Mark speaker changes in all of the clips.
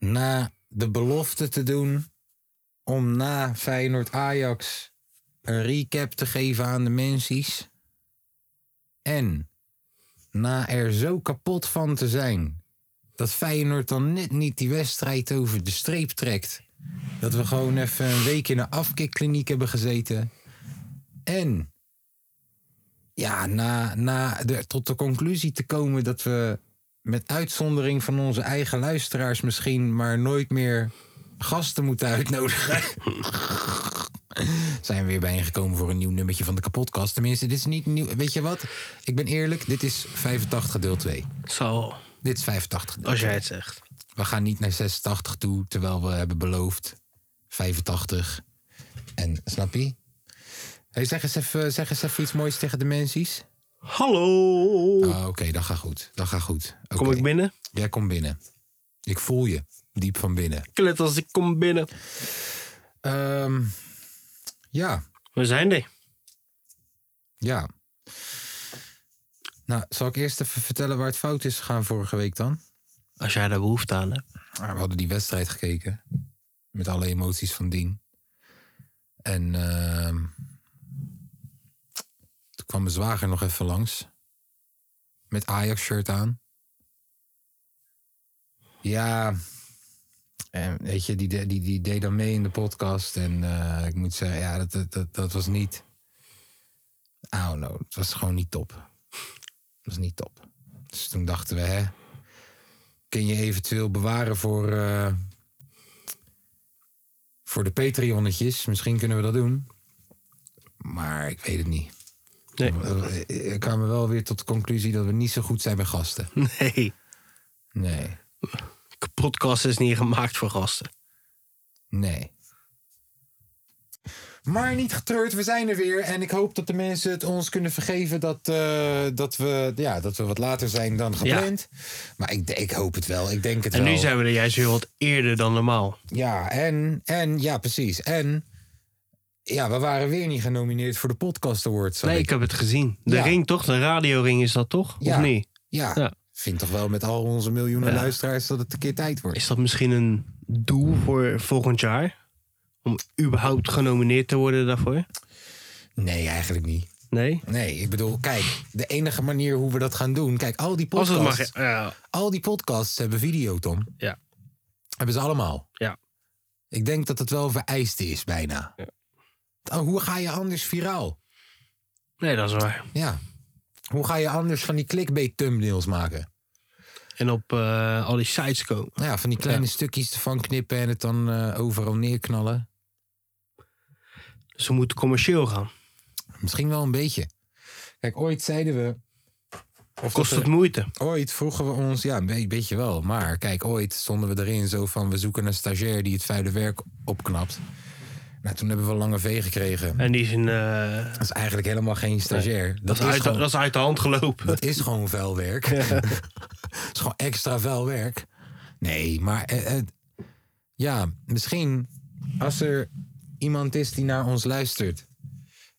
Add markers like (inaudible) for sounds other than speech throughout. Speaker 1: Na de belofte te doen om na Feyenoord-Ajax een recap te geven aan de mensies. En na er zo kapot van te zijn dat Feyenoord dan net niet die wedstrijd over de streep trekt. Dat we gewoon even een week in een afkikkliniek hebben gezeten. En ja, na, na de, tot de conclusie te komen dat we met uitzondering van onze eigen luisteraars misschien maar nooit meer gasten moeten uitnodigen. (laughs) Zijn we weer bijeengekomen voor een nieuw nummertje van de kapotkast. Tenminste, dit is niet nieuw. Weet je wat? Ik ben eerlijk, dit is 85 deel 2.
Speaker 2: Zo,
Speaker 1: Dit is 85 deel
Speaker 2: als jij het zegt.
Speaker 1: we gaan niet naar 86 toe, terwijl we hebben beloofd 85. En snap je? Hey, zeg, eens even, zeg eens even iets moois tegen de mensies.
Speaker 2: Hallo!
Speaker 1: Ah, Oké, dat gaat goed. Dat gaat goed. Oké.
Speaker 2: Kom ik binnen?
Speaker 1: Jij komt binnen. Ik voel je, diep van binnen.
Speaker 2: Klet als ik kom binnen.
Speaker 1: Ehm, ja,
Speaker 2: We zijn er.
Speaker 1: ja. Nou, zal ik eerst even vertellen waar het fout is gegaan vorige week dan?
Speaker 2: Als jij daar behoefte aan hebt.
Speaker 1: Maar we hadden die wedstrijd gekeken. Met alle emoties van dien. En ehm, toen kwam mijn zwager nog even langs. Met Ajax-shirt aan. Ja, en weet je, die, de- die, die deed dan mee in de podcast. En eh, ik moet zeggen, ja, dat, dat, dat, dat was niet... Oh no, het was gewoon niet top. Het was niet top. Dus toen dachten we, hè, kun je eventueel bewaren voor, eh, voor de Patreonnetjes. Misschien kunnen we dat doen. Maar ik weet het niet.
Speaker 2: Nee.
Speaker 1: We- eh, Ik kwam wel weer tot de conclusie dat we niet zo goed zijn bij gasten.
Speaker 2: (laughs) Nee.
Speaker 1: Nee,
Speaker 2: De podcast is niet gemaakt voor gasten.
Speaker 1: nee. Maar niet getreurd, we zijn er weer. En ik hoop dat de mensen het ons kunnen vergeven dat, eh, dat, we, ja, dat we wat later zijn dan gepland. Maar ik, ik hoop het wel, ik denk het
Speaker 2: En
Speaker 1: wel.
Speaker 2: nu zijn we er juist weer wat eerder dan normaal.
Speaker 1: Ja, en, en ja, precies. En ja, we waren weer niet genomineerd voor de Podcast Awards. zag
Speaker 2: Nee, ik
Speaker 1: ik.
Speaker 2: heb het gezien. De
Speaker 1: Ja.
Speaker 2: ring toch? De radioring is dat toch?
Speaker 1: Ja.
Speaker 2: Of niet?
Speaker 1: Ja,
Speaker 2: Ja.
Speaker 1: vind toch wel met al onze miljoenen
Speaker 2: Ja.
Speaker 1: luisteraars dat het een keer tijd wordt.
Speaker 2: Is dat misschien een doel voor volgend jaar? Om überhaupt genomineerd te worden daarvoor?
Speaker 1: Nee, eigenlijk niet.
Speaker 2: Nee?
Speaker 1: Nee, ik bedoel, kijk, de enige manier hoe we dat gaan doen... Kijk, al die
Speaker 2: Als het
Speaker 1: podcasts,
Speaker 2: mag. Ja.
Speaker 1: al die podcasts hebben video, Tom.
Speaker 2: Ja.
Speaker 1: Hebben ze allemaal.
Speaker 2: Ja.
Speaker 1: Ik denk dat het wel vereiste is, bijna.
Speaker 2: Ja.
Speaker 1: Oh, hoe ga je anders viraal?
Speaker 2: Nee, dat is waar.
Speaker 1: Ja. Hoe ga je anders van die clickbait thumbnails maken?
Speaker 2: En op eh, al die sites komen.
Speaker 1: Nou Ja, van die kleine
Speaker 2: Ja.
Speaker 1: stukjes ervan knippen en het dan eh, overal neerknallen.
Speaker 2: Dus we moeten commercieel gaan.
Speaker 1: Misschien wel een beetje. Kijk, ooit zeiden we. Of
Speaker 2: Kost
Speaker 1: dat
Speaker 2: het
Speaker 1: we-
Speaker 2: moeite?
Speaker 1: ooit vroegen we ons, ja, een be- beetje wel. Maar kijk, ooit stonden we erin zo van: we zoeken een stagiair die het vuile werk opknapt. Nou, toen hebben we lange V gekregen.
Speaker 2: En die is een. eh,
Speaker 1: Dat is eigenlijk helemaal geen stagiair.
Speaker 2: dat, is uit,
Speaker 1: gewoon,
Speaker 2: dat is uit de hand gelopen.
Speaker 1: dat is gewoon vuil werk. (laughs) Het is gewoon extra vuil werk. Nee, maar eh, eh, ja, misschien als er iemand is die naar ons luistert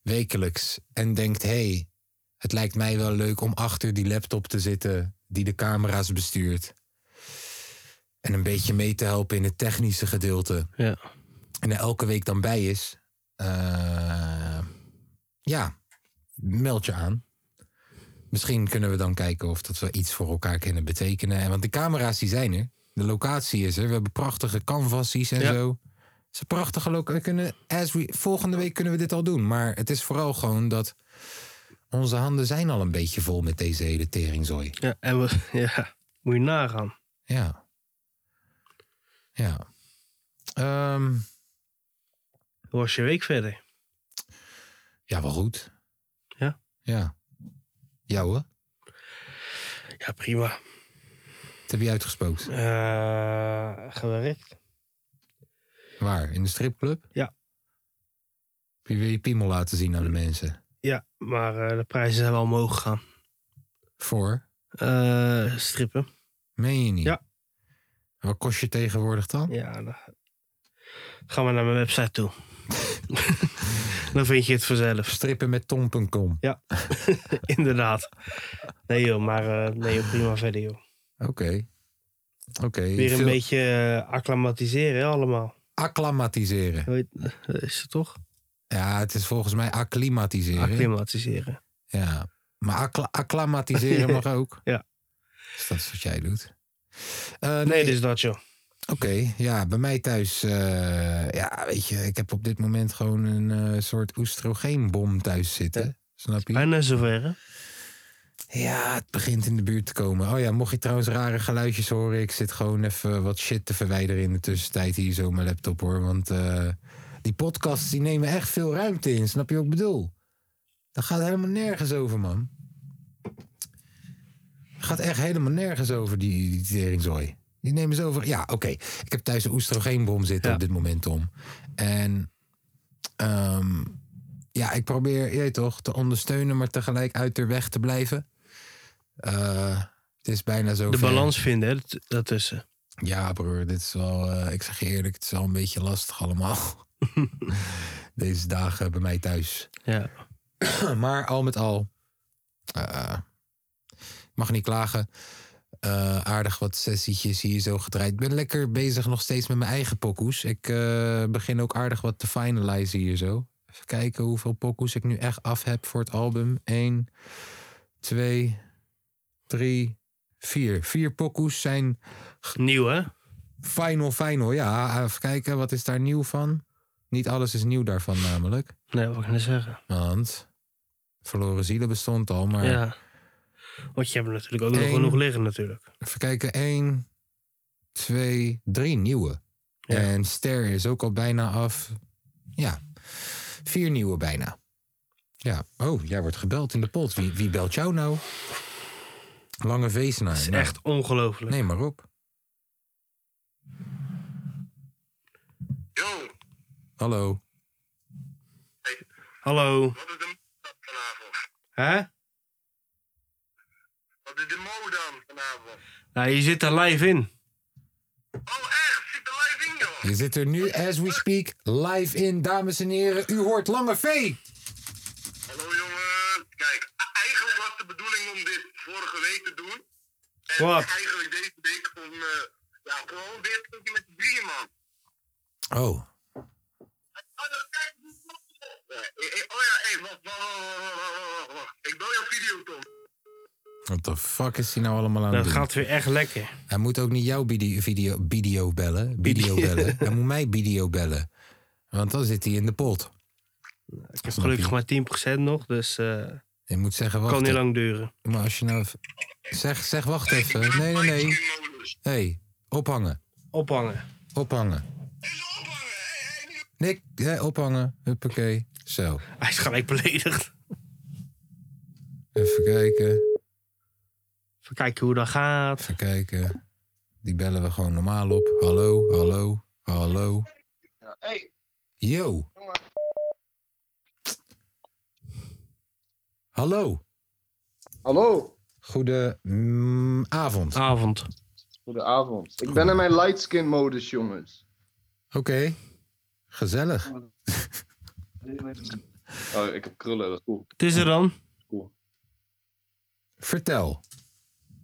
Speaker 1: wekelijks en denkt: hé, hey, het lijkt mij wel leuk om achter die laptop te zitten die de camera's bestuurt. En een beetje mee te helpen in het technische gedeelte
Speaker 2: Ja.
Speaker 1: en er elke week dan bij is, eh, ja, meld je aan. Misschien kunnen we dan kijken of dat we iets voor elkaar kunnen betekenen. En Want de camera's die zijn er, de locatie is er. We hebben prachtige canvassies en
Speaker 2: Ja.
Speaker 1: zo. Het is een prachtige locatie. Kunnen, as we, volgende week kunnen we dit al doen. Maar het is vooral gewoon dat onze handen zijn al een beetje vol met deze hele teringzooi.
Speaker 2: ja. En we. (laughs) Ja. Moet je nagaan.
Speaker 1: Ja. Ja. Ehm,
Speaker 2: Hoe was je week verder?
Speaker 1: Ja, wel goed.
Speaker 2: Ja?
Speaker 1: Ja. Jou, hè?
Speaker 2: Ja, prima.
Speaker 1: heb je uitgespookt?
Speaker 2: Eh, gewerkt.
Speaker 1: Waar? In de stripclub?
Speaker 2: Ja.
Speaker 1: Heb je weer je piemel laten zien aan de mensen?
Speaker 2: Ja, maar eh, de prijzen zijn wel omhoog gegaan.
Speaker 1: Voor?
Speaker 2: Eh, strippen.
Speaker 1: Meen je niet?
Speaker 2: Ja.
Speaker 1: Wat kost je tegenwoordig dan?
Speaker 2: Ja, dan gaan we naar mijn website toe. (laughs) dan vind je het vanzelf. (laughs)
Speaker 1: Strippen met tom.com.
Speaker 2: Inderdaad. Nee joh, maar eh, nee, joh, prima verder joh.
Speaker 1: Oké. Oké.
Speaker 2: Weer een
Speaker 1: Veel-
Speaker 2: beetje eh, acclimatiseren hè, allemaal.
Speaker 1: Acclimatiseren.
Speaker 2: Hoe heet- eh, Is het toch?
Speaker 1: Ja, het is volgens mij acclimatiseren.
Speaker 2: Acclimatiseren.
Speaker 1: ja. Maar accla- acclimatiseren mag ook.
Speaker 2: (laughs) Ja.
Speaker 1: Dus dat is wat jij doet. Eh, nee,
Speaker 2: Nee, dus dat joh.
Speaker 1: Oké, ja, bij mij thuis, eh, ja, weet je, ik heb op dit moment gewoon een eh, soort oestrogeenbom thuis zitten. Snap je?
Speaker 2: Bijna eh, zover hè?
Speaker 1: Ja, het begint in de buurt te komen. Oh ja, mocht je trouwens rare geluidjes horen, ik zit gewoon even wat shit te verwijderen in de tussentijd hier zo op mijn laptop hoor. Want eh, die podcasts die nemen echt veel ruimte in, snap je wat ik bedoel? Dat gaat helemaal nergens over, man. Het gaat echt helemaal nergens over, die, die teringzooi. Die nemen ze over. Ja, oké. Ik heb thuis een oestrogeenbom zitten
Speaker 2: Ja.
Speaker 1: op dit moment om. En ehm, ja, ik probeer, je weet toch, te ondersteunen, maar tegelijk uit de weg te blijven. Eh, het is bijna zo.
Speaker 2: De
Speaker 1: ver.
Speaker 2: balans vinden hè, dat- eh, daartussen.
Speaker 1: Ja, broer, dit is wel, eh, ik zeg je eerlijk, het is wel een beetje lastig allemaal. Deze dagen bij mij thuis. (clears throat)
Speaker 2: Ja.
Speaker 1: maar al met al, eh, mag niet klagen. Eh, aardig wat sessietjes hier zo gedraaid. Ik ben lekker bezig nog steeds met mijn eigen pokoes. Ik eh, begin ook aardig wat te finalizen hier zo. Even kijken hoeveel pokoes ik nu echt af heb voor het album. 1, 2, 3, 4. Vier pokoes zijn
Speaker 2: Nieuw hè?
Speaker 1: Final, final. Ja, even kijken, wat is daar nieuw van? Niet alles is nieuw daarvan namelijk.
Speaker 2: Nee, wat kan ik nou zeggen?
Speaker 1: Want Verloren Zielen bestond al, maar...
Speaker 2: Ja. Want je hebt er natuurlijk ook nog
Speaker 1: Eén.
Speaker 2: genoeg liggen natuurlijk.
Speaker 1: Even kijken, één, twee, drie nieuwe.
Speaker 2: Ja.
Speaker 1: En Ster is ook al bijna af. Ja, vier nieuwe bijna. Ja, oh, jij wordt gebeld in de pot. Wie, wie belt jou nou? Lange Veesnaar.
Speaker 2: Het is
Speaker 1: Nou,
Speaker 2: echt ongelooflijk.
Speaker 1: Neem maar op.
Speaker 3: Yo,
Speaker 1: Hallo.
Speaker 2: Hallo.
Speaker 3: wat is de mode dan vanavond?
Speaker 2: Hè?
Speaker 3: Wat is de mode dan vanavond?
Speaker 2: Nou, je zit er live in.
Speaker 3: Oh echt, zit er live in joh.
Speaker 1: Je zit er nu, as we speak, live in, dames en heren. U hoort Lange V.
Speaker 3: Hallo jongen. Kijk, e- eigenlijk was de bedoeling om dit vorige week te doen. En
Speaker 2: Wat?
Speaker 3: eigenlijk deze week om, eh, ja, gewoon weer een stukje met de drieën man.
Speaker 1: Oh,
Speaker 3: Oh, dat- kijk, die is nog- Ja, eh, eh, Oh ja, hé, wacht, wacht, wacht, wacht, wacht, wacht, wacht, wacht. Ik bel jouw video, Tom.
Speaker 1: Wat de fuck is hij nou allemaal aan het
Speaker 2: Dat
Speaker 1: doen?
Speaker 2: gaat weer echt lekker.
Speaker 1: Hij moet ook niet jouw video, video, video bellen. (laughs) Video
Speaker 2: Video.
Speaker 1: bellen. Hij moet mij video bellen. Want dan zit hij in de pot.
Speaker 2: Ik heb gelukkig maar 10% nog, dus eh
Speaker 1: Je moet zeggen, wacht
Speaker 2: kan niet
Speaker 1: even.
Speaker 2: lang duren.
Speaker 1: Maar als je nou... even- Zeg, zeg, wacht even. Eh, Nee, nee, nee.
Speaker 3: dus.
Speaker 1: Hé, hey, ophangen.
Speaker 2: Ophangen.
Speaker 1: Ophangen. Nick, hè, ophangen. Huppakee. Zo.
Speaker 2: Hij is gelijk beledigd.
Speaker 1: Even kijken.
Speaker 2: Even kijken hoe dat gaat.
Speaker 1: Even kijken. Die bellen we gewoon normaal op. Hallo, hallo, hallo.
Speaker 3: Hey,
Speaker 1: Yo.
Speaker 3: jongen.
Speaker 1: Hallo.
Speaker 3: Hallo,
Speaker 1: Goedenavond.
Speaker 2: Avond.
Speaker 3: goedenavond. Ik ben in mijn lightskin modus, jongens.
Speaker 1: Oké. Gezellig.
Speaker 3: Oh, ik heb krullen, dat is cool.
Speaker 2: Het is er dan.
Speaker 1: Vertel.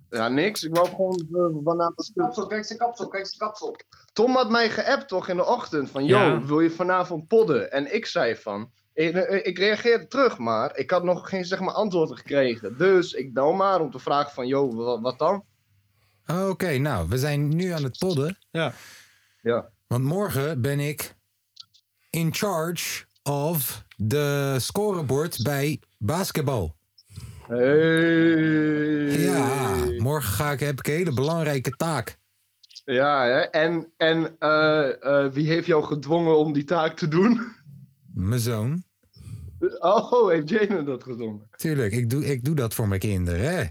Speaker 3: Ja, niks. Ik wou gewoon eh, vanavond... Kapsel, kijk zijn kapsel, kijk zijn kapsel. Tom had mij geappt toch in de ochtend van... Yo,
Speaker 2: Ja.
Speaker 3: wil je vanavond podden? En ik zei van... Ik, eh, ik reageerde terug, maar ik had nog geen zeg maar, antwoord gekregen. Dus ik bel maar om te vragen van... Yo, wa- wat, dan?
Speaker 1: Oké, nou, we zijn nu aan het podden.
Speaker 2: Ja.
Speaker 3: Ja.
Speaker 1: Want morgen ben ik in charge of de scorebord bij basketbal.
Speaker 3: Hey.
Speaker 1: Ja, morgen ga ik, heb ik een hele belangrijke taak.
Speaker 3: Ja, hè? En, en eh, eh, wie heeft jou gedwongen om die taak te doen? (laughs)
Speaker 1: Mijn zoon.
Speaker 3: Oh, heeft Jane dat gedwongen?
Speaker 1: Tuurlijk, ik doe, ik doe dat voor mijn kinderen. Hè?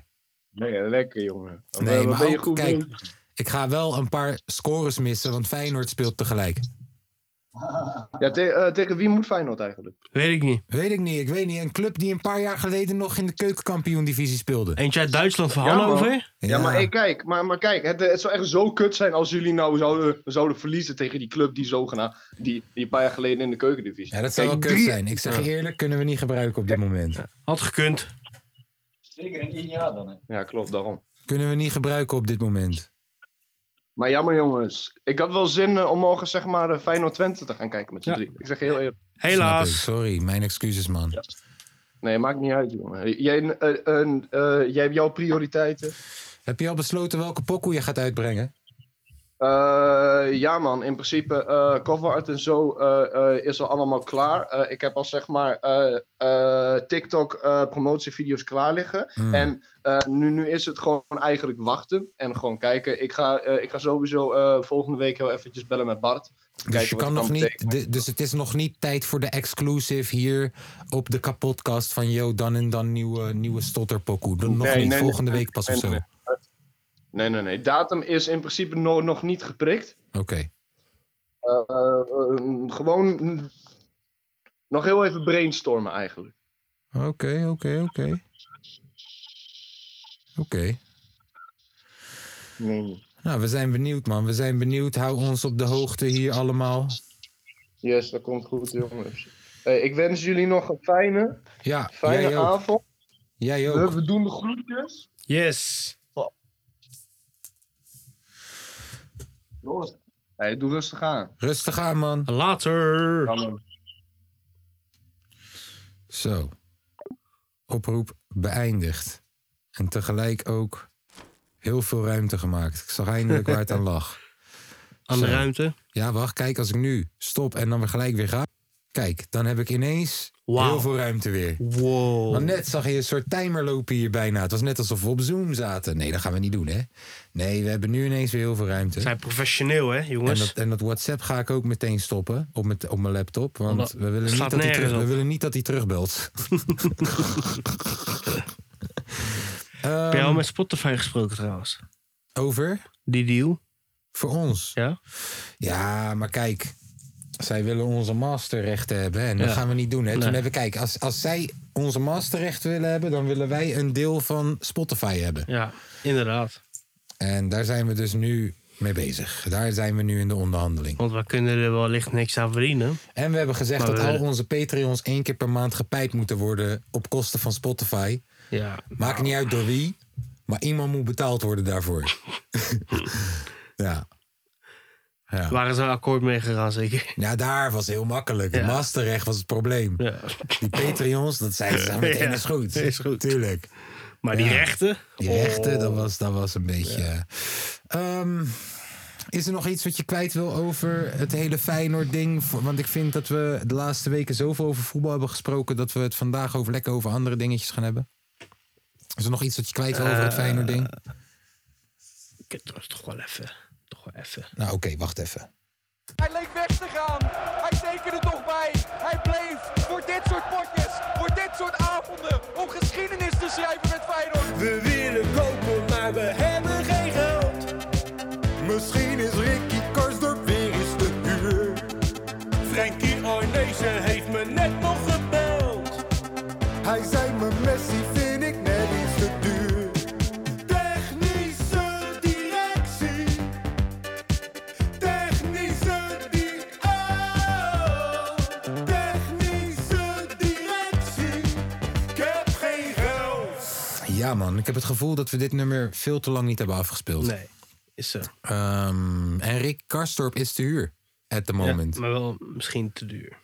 Speaker 3: Lekker, lekker jongen. Wat-
Speaker 1: Nee,
Speaker 3: wat
Speaker 1: maar
Speaker 3: ben je
Speaker 1: ook,
Speaker 3: goed
Speaker 1: kijk,
Speaker 3: bezig?
Speaker 1: Ik ga wel een paar scores missen, want Feyenoord speelt tegelijk.
Speaker 3: Ja, te- eh, tegen wie moet Feyenoord eigenlijk?
Speaker 2: Weet ik niet.
Speaker 1: Weet ik niet, ik weet niet. Een club die een paar jaar geleden nog in de keukenkampioen-divisie speelde.
Speaker 2: Eentje uit Duitsland van
Speaker 3: Ja, man.
Speaker 2: Hannover.
Speaker 3: Ja, maar, ik, kijk, maar, maar kijk, het, eh, het zou echt zo kut zijn als jullie nou zouden, zouden verliezen tegen die club die zogenaamd, die, die een paar jaar geleden in de keukendivisie.
Speaker 1: Ja, dat zou wel
Speaker 3: Kijk,
Speaker 1: kut
Speaker 3: drie-
Speaker 1: zijn. Ik zeg je eerlijk, kunnen we niet gebruiken op dit moment.
Speaker 2: Had gekund.
Speaker 4: Zeker in één jaar dan. Hè.
Speaker 3: Ja, klopt, daarom.
Speaker 1: Kunnen we niet gebruiken op dit moment.
Speaker 3: Maar jammer jongens, ik had wel zin eh, om morgen zeg maar eh, Feyenoord Twente te gaan kijken met z'n
Speaker 2: Ja.
Speaker 3: drie. Ik zeg je heel eerlijk.
Speaker 1: Snap ik.
Speaker 2: Helaas.
Speaker 1: Sorry, mijn excuses, man.
Speaker 3: Nee, maakt niet uit jongen. Jij, eh, eh, eh, jij hebt jouw prioriteiten.
Speaker 1: Heb je al besloten welke pokoe je gaat uitbrengen?
Speaker 3: Eh, ja man, in principe eh cover art en zo eh, eh, is al allemaal klaar. Eh, ik heb al zeg maar eh, eh, TikTok eh, promotievideo's klaar liggen.
Speaker 1: Hmm.
Speaker 3: En eh, nu, nu is het gewoon eigenlijk wachten en gewoon kijken. Ik ga, eh, ik ga sowieso eh, volgende week heel eventjes bellen met Bart.
Speaker 1: dus, je
Speaker 3: wat
Speaker 1: kan
Speaker 3: het
Speaker 1: nog
Speaker 3: dan
Speaker 1: niet,
Speaker 3: betekent.
Speaker 1: de- dus het is nog niet tijd voor de exclusive hier op de kapotkast van yo, dan en dan nieuwe, nieuwe stotterpokoe. Dan Nog
Speaker 3: Nee,
Speaker 1: niet,
Speaker 3: nee,
Speaker 1: volgende
Speaker 3: nee,
Speaker 1: week pas
Speaker 3: nee,
Speaker 1: of zo.
Speaker 3: nee, Nee, nee, nee. Datum is in principe no- nog niet geprikt.
Speaker 1: Oké,
Speaker 3: Eh, eh, eh, gewoon mm, nog heel even brainstormen eigenlijk.
Speaker 1: oké, oké, oké. Oké. Nou, we zijn benieuwd, man. We zijn benieuwd. Hou ons op de hoogte hier allemaal.
Speaker 3: Yes, dat komt goed, jongens. Hey, ik wens jullie nog een fijne,
Speaker 1: Ja,
Speaker 3: fijne
Speaker 1: jij ook.
Speaker 3: avond.
Speaker 1: Jij
Speaker 3: We,
Speaker 1: ook.
Speaker 3: we doen de groetjes.
Speaker 2: Yes.
Speaker 3: Hey, doe rustig aan.
Speaker 1: Rustig aan, man.
Speaker 2: Later.
Speaker 1: Zo. Oproep beëindigd. En tegelijk ook heel veel ruimte gemaakt. Ik zag eindelijk waar het aan lag.
Speaker 2: Aan de
Speaker 1: Zo.
Speaker 2: ruimte.
Speaker 1: Ja, wacht. Kijk, als ik nu stop en dan weer gelijk weer ga. Kijk, dan heb ik ineens
Speaker 2: Wauw.
Speaker 1: heel veel ruimte weer.
Speaker 2: Wow.
Speaker 1: Want net zag je een soort timer lopen hier bijna. Het was net alsof we op Zoom zaten. Nee, dat gaan we niet doen, hè? Nee, we hebben nu ineens weer heel veel ruimte.
Speaker 2: We zijn professioneel, hè,
Speaker 1: En
Speaker 2: jongens.
Speaker 1: dat, en dat WhatsApp ga ik ook meteen stoppen op, met, op mijn laptop. Want
Speaker 2: Want
Speaker 1: we willen, niet
Speaker 2: slaat
Speaker 1: dat hij
Speaker 2: nergens
Speaker 1: terug, we
Speaker 2: op.
Speaker 1: willen niet dat hij terugbelt.
Speaker 2: Heb jij
Speaker 1: Ehm
Speaker 2: al met Spotify gesproken, trouwens?
Speaker 1: over?
Speaker 2: Die deal?
Speaker 1: Voor ons.
Speaker 2: Ja.
Speaker 1: Ja, maar kijk. Zij willen onze masterrechten hebben. hè, En dat
Speaker 2: Ja.
Speaker 1: gaan we niet doen. Hè? Toen
Speaker 2: Nee.
Speaker 1: hebben we, kijk, als, als zij onze masterrechten willen hebben... dan willen wij een deel van Spotify hebben.
Speaker 2: Ja, inderdaad.
Speaker 1: En daar zijn we dus nu mee bezig. Daar zijn we nu in de onderhandeling.
Speaker 2: Want we kunnen er wellicht niks aan verdienen.
Speaker 1: En we hebben gezegd
Speaker 2: Maar
Speaker 1: dat
Speaker 2: we-
Speaker 1: al onze Patreons één keer per maand gepijpt moeten worden... op kosten van Spotify.
Speaker 2: Ja.
Speaker 1: Maakt niet uit door wie, maar iemand moet betaald worden daarvoor. (laughs) ja. Ja.
Speaker 2: Waren ze wel akkoord mee gegaan, zeker?
Speaker 1: ja, daar was heel makkelijk. Het
Speaker 2: Ja.
Speaker 1: masterrecht was het probleem.
Speaker 2: Ja.
Speaker 1: Die Patreons, dat zeiden ze meteen,
Speaker 2: Ja,
Speaker 1: is goed.
Speaker 2: is goed. Oh.
Speaker 1: Tuurlijk.
Speaker 2: (laughs) Maar die
Speaker 1: Ja.
Speaker 2: rechten?
Speaker 1: Die rechten, dat was, dat was een beetje... eh. Ehm, is er nog iets wat je kwijt wil over het hele Feyenoord-ding? Voor- Want ik vind dat we de laatste weken zoveel over voetbal hebben gesproken... dat we het vandaag over, lekker over andere dingetjes gaan hebben. Is er nog iets wat je kwijt wil over
Speaker 2: Eh,
Speaker 1: het Feyenoord-ding?
Speaker 2: Ik heb het toch wel even. Toch wel even.
Speaker 1: Nou, oké, wacht even.
Speaker 5: Hij leek weg te gaan. Hij tekende toch bij. Hij bleef voor dit soort potjes, voor dit soort avonden, om geschiedenis te schrijven met Feyenoord.
Speaker 6: We willen kopen, maar we hebben geen geld. Misschien is Ricky Karsdorp weer eens te huur. Frankie Arnezen heeft me net nog gebeld. Hij zei me Messi vind ik net iets te duur. Technische directie. Technische di- oh. Technische directie. Ik heb geen geld.
Speaker 1: Ja, man. Ik heb het gevoel dat we dit nummer veel te lang niet hebben afgespeeld.
Speaker 2: Nee, is zo.
Speaker 1: Ehm, en Rick Karstorp is te huur. At the moment. Ja, maar,
Speaker 2: Maar wel misschien te duur.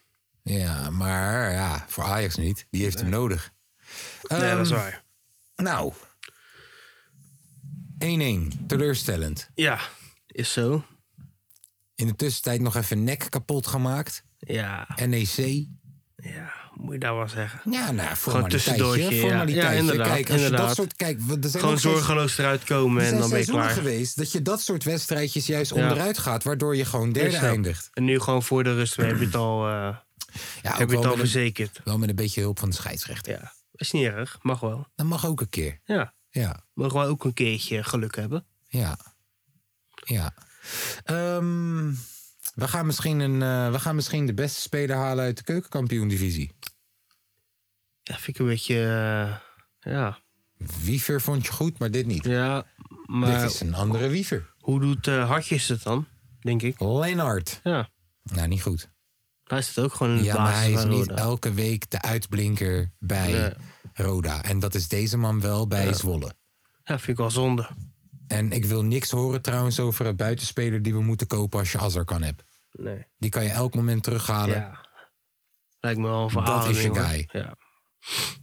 Speaker 1: ja, voor Ajax niet. Die heeft hem nodig.
Speaker 2: nee,
Speaker 1: Ehm,
Speaker 2: dat is waar.
Speaker 1: Nou. 1-1. Teleurstellend.
Speaker 2: Ja, is zo.
Speaker 1: In de tussentijd nog even nek kapot gemaakt.
Speaker 2: Ja,
Speaker 1: NEC.
Speaker 2: ja, moet je daar wel zeggen.
Speaker 1: Ja, nou,
Speaker 2: tussendoortje,
Speaker 1: formaliteitje.
Speaker 2: ja.
Speaker 1: formaliteitje.
Speaker 2: Ja, inderdaad,
Speaker 1: Kijk, als je dat
Speaker 2: inderdaad.
Speaker 1: soort... Kijk, we- er zijn
Speaker 2: Gewoon
Speaker 1: nog steeds-
Speaker 2: zorgeloos eruit komen
Speaker 1: er zijn
Speaker 2: en dan ben je
Speaker 1: seizoenen
Speaker 2: klaar.
Speaker 1: geweest dat je dat soort wedstrijdjes juist
Speaker 2: Ja.
Speaker 1: onderuit gaat... waardoor je gewoon derde
Speaker 2: Ik snap.
Speaker 1: eindigt.
Speaker 2: En nu gewoon voor de rust heb je het al, eh,
Speaker 1: Ja, ook
Speaker 2: heb
Speaker 1: wel
Speaker 2: je het al
Speaker 1: met een-
Speaker 2: verzekerd.
Speaker 1: Wel met een beetje hulp van de scheidsrechter.
Speaker 2: Ja, is niet erg. Mag wel.
Speaker 1: Dat mag ook een keer.
Speaker 2: Ja,
Speaker 1: Ja,
Speaker 2: Mogen wij ook een keertje geluk hebben?
Speaker 1: ja. Ja. Ehm, we, gaan misschien een, eh, we gaan misschien de beste speler halen uit de keukenkampioen-divisie.
Speaker 2: Ja, vind ik een beetje... eh, ja.
Speaker 1: Wiever vond je goed, maar dit niet.
Speaker 2: ja,
Speaker 1: Dit
Speaker 2: maar
Speaker 1: is een andere Wiever.
Speaker 2: hoe doet eh, Hartjes het dan, denk ik?
Speaker 1: Lennart.
Speaker 2: Ja,
Speaker 1: Nou, niet goed.
Speaker 2: hij is het ook gewoon in de
Speaker 1: Ja, maar
Speaker 2: basis
Speaker 1: hij is
Speaker 2: van
Speaker 1: niet
Speaker 2: Roda.
Speaker 1: elke week de uitblinker bij
Speaker 2: Nee.
Speaker 1: Roda. En dat is deze man wel bij Zwolle.
Speaker 2: Ja, vind ik wel zonde.
Speaker 1: En ik wil niks horen trouwens over een buitenspeler die we moeten kopen als je Azar kan hebt.
Speaker 2: Nee.
Speaker 1: Die kan je elk moment terughalen.
Speaker 2: Ja. Lijkt me wel een
Speaker 1: Dat
Speaker 2: verhaal.
Speaker 1: is je guy.
Speaker 2: Ja.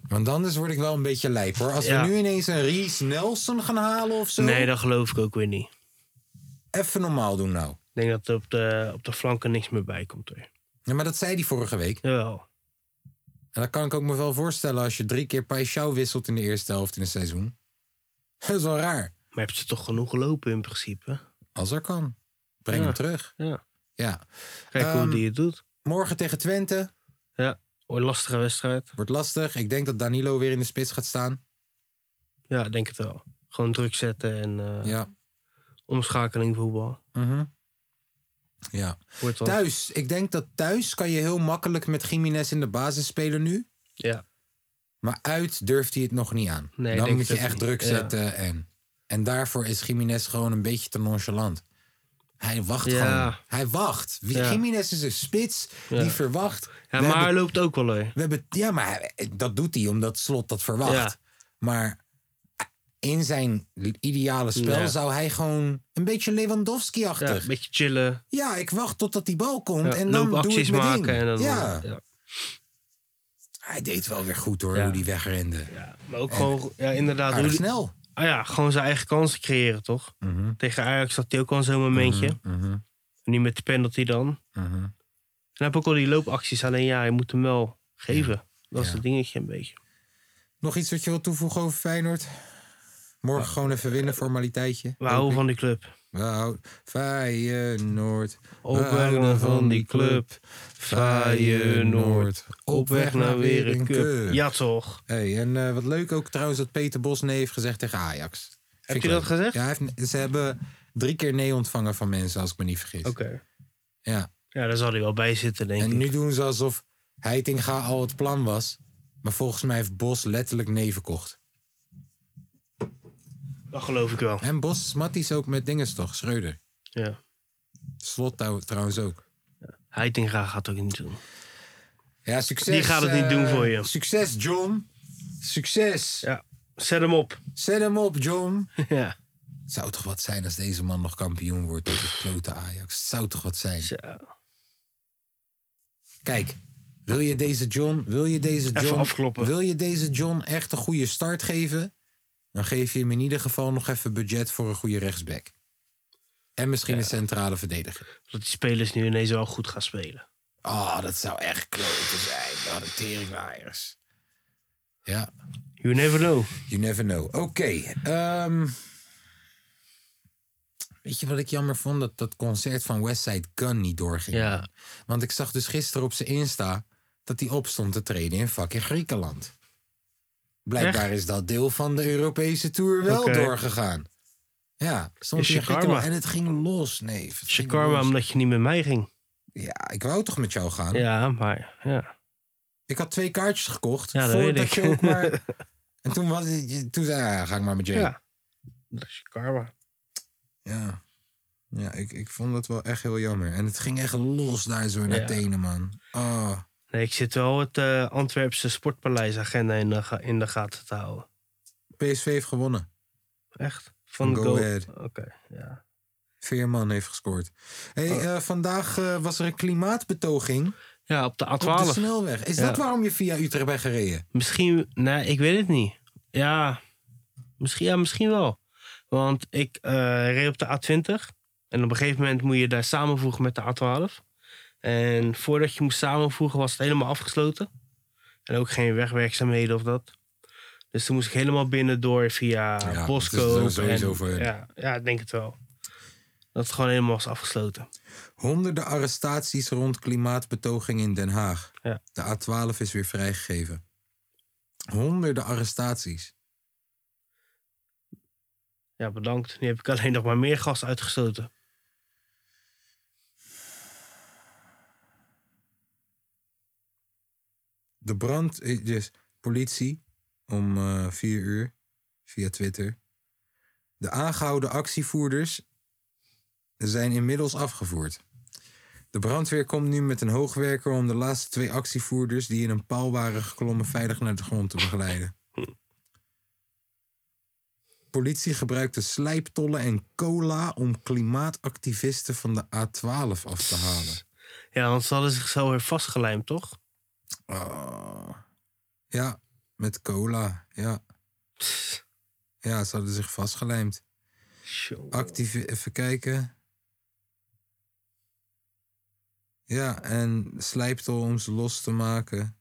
Speaker 1: Want anders word ik wel een beetje lijp hoor. Als
Speaker 2: Ja.
Speaker 1: we nu ineens een Ries Nelson gaan halen of zo.
Speaker 2: Nee, dat geloof ik ook weer niet.
Speaker 1: Even normaal doen nou.
Speaker 2: Ik denk dat er op de, op de flanken niks meer bij komt. Hoor.
Speaker 1: Ja, maar dat zei hij vorige week.
Speaker 2: Jawel.
Speaker 1: En dat kan ik ook me wel voorstellen als je drie keer Paixão wisselt in de eerste helft in het seizoen. (laughs) Dat is wel raar.
Speaker 2: Maar heb je toch genoeg gelopen in principe?
Speaker 1: Azar kan. Breng
Speaker 2: Ja.
Speaker 1: hem terug.
Speaker 2: Ja.
Speaker 1: Ja.
Speaker 2: Kijk
Speaker 1: Ehm,
Speaker 2: hoe die het doet.
Speaker 1: Morgen tegen Twente.
Speaker 2: Een lastige wedstrijd.
Speaker 1: Wordt lastig. Ik denk dat Danilo weer in de spits gaat staan.
Speaker 2: Ja, ik denk het wel. Gewoon druk zetten en eh,
Speaker 1: Ja.
Speaker 2: omschakeling voetbal.
Speaker 1: Mhm. Ja.
Speaker 2: Wordt wel-
Speaker 1: Thuis. Ik denk dat thuis kan je heel makkelijk met Jiménez in de basis spelen nu.
Speaker 2: Ja.
Speaker 1: Maar uit durft hij het nog niet aan.
Speaker 2: Nee, ik
Speaker 1: Dan
Speaker 2: denk
Speaker 1: moet je
Speaker 2: het ook
Speaker 1: echt
Speaker 2: niet.
Speaker 1: druk
Speaker 2: Ja.
Speaker 1: zetten. En, en daarvoor is Jiménez gewoon een beetje te nonchalant. Hij wacht
Speaker 2: Ja.
Speaker 1: gewoon. Hij wacht. Wie-
Speaker 2: Ja.
Speaker 1: Jiménez is een spits
Speaker 2: Ja.
Speaker 1: die verwacht.
Speaker 2: ja,
Speaker 1: we
Speaker 2: maar hij
Speaker 1: hebben,
Speaker 2: loopt ook wel hoor.
Speaker 1: we hebben, ja, maar hij- dat doet hij omdat Slot dat verwacht.
Speaker 2: Ja.
Speaker 1: Maar in zijn ideale spel
Speaker 2: Ja.
Speaker 1: zou hij gewoon een beetje
Speaker 2: Ja,
Speaker 1: Lewandowski-achtig.
Speaker 2: een
Speaker 1: Ja,
Speaker 2: beetje chillen.
Speaker 1: ik wacht totdat die bal komt
Speaker 2: Ja,
Speaker 1: en dan doe ik
Speaker 2: loopacties
Speaker 1: mijn
Speaker 2: maken.
Speaker 1: ding.
Speaker 2: En dan,
Speaker 1: ja.
Speaker 2: ja. Ja,
Speaker 1: Hij deed wel weer goed hoor,
Speaker 2: Ja.
Speaker 1: hoe die wegrende.
Speaker 2: Maar ook gewoon, ja, inderdaad.
Speaker 1: Aardig
Speaker 2: hoe die-
Speaker 1: snel.
Speaker 2: ah, ja, gewoon zijn eigen kansen creëren, toch?
Speaker 1: Mhm,
Speaker 2: Tegen Ajax had hij ook al zo'n momentje.
Speaker 1: mhm,
Speaker 2: Nu met de penalty dan.
Speaker 1: mhm.
Speaker 2: En heb ook al die loopacties. Alleen ja, je moet hem wel geven. Dat is
Speaker 1: Ja.
Speaker 2: het dingetje een beetje.
Speaker 1: Nog iets wat je wilt toevoegen over Feyenoord? Morgen gewoon even winnen, formaliteitje.
Speaker 2: We houden van die club.
Speaker 1: We houden- Feyenoord.
Speaker 2: Op weg naar van die club. Feyenoord. Op weg naar weer een cup. Ja toch.
Speaker 1: Hey, en eh, wat leuk ook trouwens dat Peter Bos nee heeft gezegd tegen Ajax. Vind ik
Speaker 2: je dat
Speaker 1: leuk.
Speaker 2: gezegd?
Speaker 1: Ja, hij heeft, ze hebben drie keer nee ontvangen van mensen, als ik me niet vergis.
Speaker 2: Oké.
Speaker 1: Ja.
Speaker 2: Ja, daar zal hij wel bij zitten denk
Speaker 1: En
Speaker 2: ik.
Speaker 1: nu doen ze alsof Heitinga al het plan was. Maar volgens mij heeft Bos letterlijk nee verkocht.
Speaker 2: Dat geloof ik wel.
Speaker 1: En Bos matties ook met dinges toch, Schreuder.
Speaker 2: Ja.
Speaker 1: Slot trouw- trouwens ook.
Speaker 2: Heitinga gaat ook niet doen.
Speaker 1: Ja, succes.
Speaker 2: Die gaat het niet
Speaker 1: eh,
Speaker 2: doen voor je.
Speaker 1: Succes, John. Succes.
Speaker 2: Ja. Zet hem op.
Speaker 1: Zet hem op, John.
Speaker 2: (laughs) ja.
Speaker 1: Het zou toch wat zijn als deze man nog kampioen wordt tegen het klote Ajax. Het zou toch wat zijn.
Speaker 2: Zo.
Speaker 1: Kijk, wil je deze John, wil je deze
Speaker 2: Even
Speaker 1: John,
Speaker 2: afkloppen.
Speaker 1: wil je deze John echt een goede start geven? Dan geef je hem in ieder geval nog even budget voor een goede rechtsback. En misschien een centrale verdediger.
Speaker 2: Dat die spelers nu ineens wel goed gaan spelen.
Speaker 1: Oh, dat zou echt klote zijn. Wat een teringwaaiers. Ja,
Speaker 2: You never know.
Speaker 1: You never know. Oké. ehm, weet je wat ik jammer vond? Dat dat concert van Westside Gun niet doorging.
Speaker 2: Ja.
Speaker 1: Want ik zag dus gisteren op zijn Insta dat hij opstond te treden in fucking Griekenland. Blijkbaar is dat deel van de Europese tour wel
Speaker 2: Oké.
Speaker 1: doorgegaan. Ja, stond
Speaker 2: Is
Speaker 1: hij in
Speaker 2: je karma.
Speaker 1: Griekenland en het ging los, nee. het ging
Speaker 2: Shakarma
Speaker 1: los.
Speaker 2: omdat je niet met mij ging.
Speaker 1: Ja, ik wou toch met jou gaan?
Speaker 2: Ja, maar ja.
Speaker 1: Ik had twee kaartjes gekocht
Speaker 2: Ja, dat weet
Speaker 1: voordat
Speaker 2: ik.
Speaker 1: je ook
Speaker 2: (laughs)
Speaker 1: maar... En toen, was, toen zei hij, ja, ga ik maar met Jay.
Speaker 2: Ja. Dat is Shakarma.
Speaker 1: Ja. Ja, ik, ik vond dat wel echt heel jammer. En het ging echt los daar zo in
Speaker 2: Ja.
Speaker 1: Athene, man. Oh.
Speaker 2: Nee, ik zit wel het eh, Antwerpse Sportpaleis agenda in de, ga- in de gaten te houden.
Speaker 1: PSV heeft gewonnen.
Speaker 2: Echt? Van
Speaker 1: Go
Speaker 2: Go,
Speaker 1: Ahead.
Speaker 2: Oké, ja.
Speaker 1: Veerman heeft gescoord. hey,
Speaker 2: Oh.
Speaker 1: eh, vandaag eh, was er een klimaatbetoging
Speaker 2: Ja, op de
Speaker 1: op de
Speaker 2: A12.
Speaker 1: snelweg. Is
Speaker 2: Ja.
Speaker 1: dat waarom je via Utrecht bent gereden?
Speaker 2: misschien, nee, ik weet het niet. Ja, misschien, ja, misschien wel. Want ik eh, reed op de A20. En op een gegeven moment moet je daar samenvoegen met de A12. En voordat je moest samenvoegen was het helemaal afgesloten. En ook geen wegwerkzaamheden of dat. Dus toen moest ik helemaal binnen door via
Speaker 1: Ja, dat
Speaker 2: Bosco.
Speaker 1: is dus sowieso voor hun.
Speaker 2: ja, ja, ik denk het wel. Dat het gewoon helemaal was afgesloten.
Speaker 1: Honderden arrestaties rond klimaatbetoging in Den Haag.
Speaker 2: Ja.
Speaker 1: De A12 is weer vrijgegeven. Honderden arrestaties.
Speaker 2: Ja, bedankt. Nu heb ik alleen nog maar meer gas uitgestoten.
Speaker 1: De brand, eh, dus politie om eh, vier uur via Twitter. De aangehouden actievoerders zijn inmiddels afgevoerd. De brandweer komt nu met een hoogwerker om de laatste twee actievoerders die in een paal waren geklommen veilig naar de grond te begeleiden. Politie gebruikte slijptollen en cola om klimaatactivisten van de A12 af te halen.
Speaker 2: Ja, want ze hadden zich zo weer vastgelijmd, toch?
Speaker 1: Oh. Ja, met cola. Ja. Ja, ze hadden zich vastgelijmd.
Speaker 2: Tjoh.
Speaker 1: Actief, even kijken. Ja, en slijptol om ze los te maken.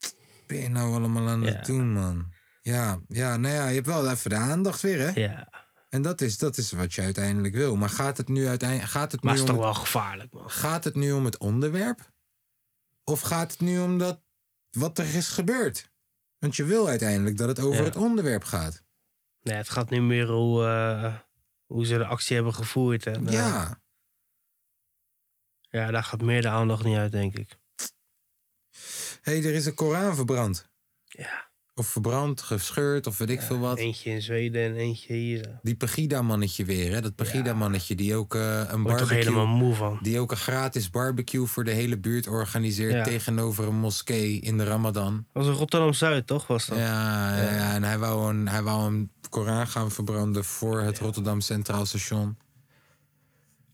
Speaker 1: Wat ben je nou allemaal aan het
Speaker 2: Ja.
Speaker 1: doen, man? Ja, ja, nou ja, je hebt wel even de aandacht weer, hè?
Speaker 2: Ja,
Speaker 1: En dat is, dat is wat je uiteindelijk wil. Maar gaat het nu uiteindelijk... Gaat het nu
Speaker 2: maar het is
Speaker 1: om
Speaker 2: toch
Speaker 1: het-
Speaker 2: wel gevaarlijk, man.
Speaker 1: Gaat het nu om het onderwerp? Of gaat het nu om dat, wat er is gebeurd? Want je wil uiteindelijk dat het over
Speaker 2: Ja.
Speaker 1: het onderwerp gaat.
Speaker 2: Nee, het gaat niet meer hoe, eh, hoe ze de actie hebben gevoerd. En, eh,
Speaker 1: Ja.
Speaker 2: ja, daar gaat meer de aandacht niet uit, denk ik.
Speaker 1: Hé, hey, er is een Koran verbrand.
Speaker 2: Ja.
Speaker 1: Of verbrand, gescheurd of weet ik veel wat.
Speaker 2: Eentje in Zweden en eentje hier. Daar
Speaker 1: Die Pegida-mannetje weer, hè? Dat Pegida-mannetje die ook eh, een
Speaker 2: word ik toch helemaal
Speaker 1: barbecue...
Speaker 2: moe van.
Speaker 1: Die ook een gratis barbecue voor de hele buurt organiseert
Speaker 2: Ja.
Speaker 1: tegenover een moskee in de Ramadan.
Speaker 2: Dat was in Rotterdam-Zuid, toch? Was dat?
Speaker 1: Ja, ja. en hij wou, een, hij wou een Koran gaan verbranden voor het Rotterdam Centraal Station.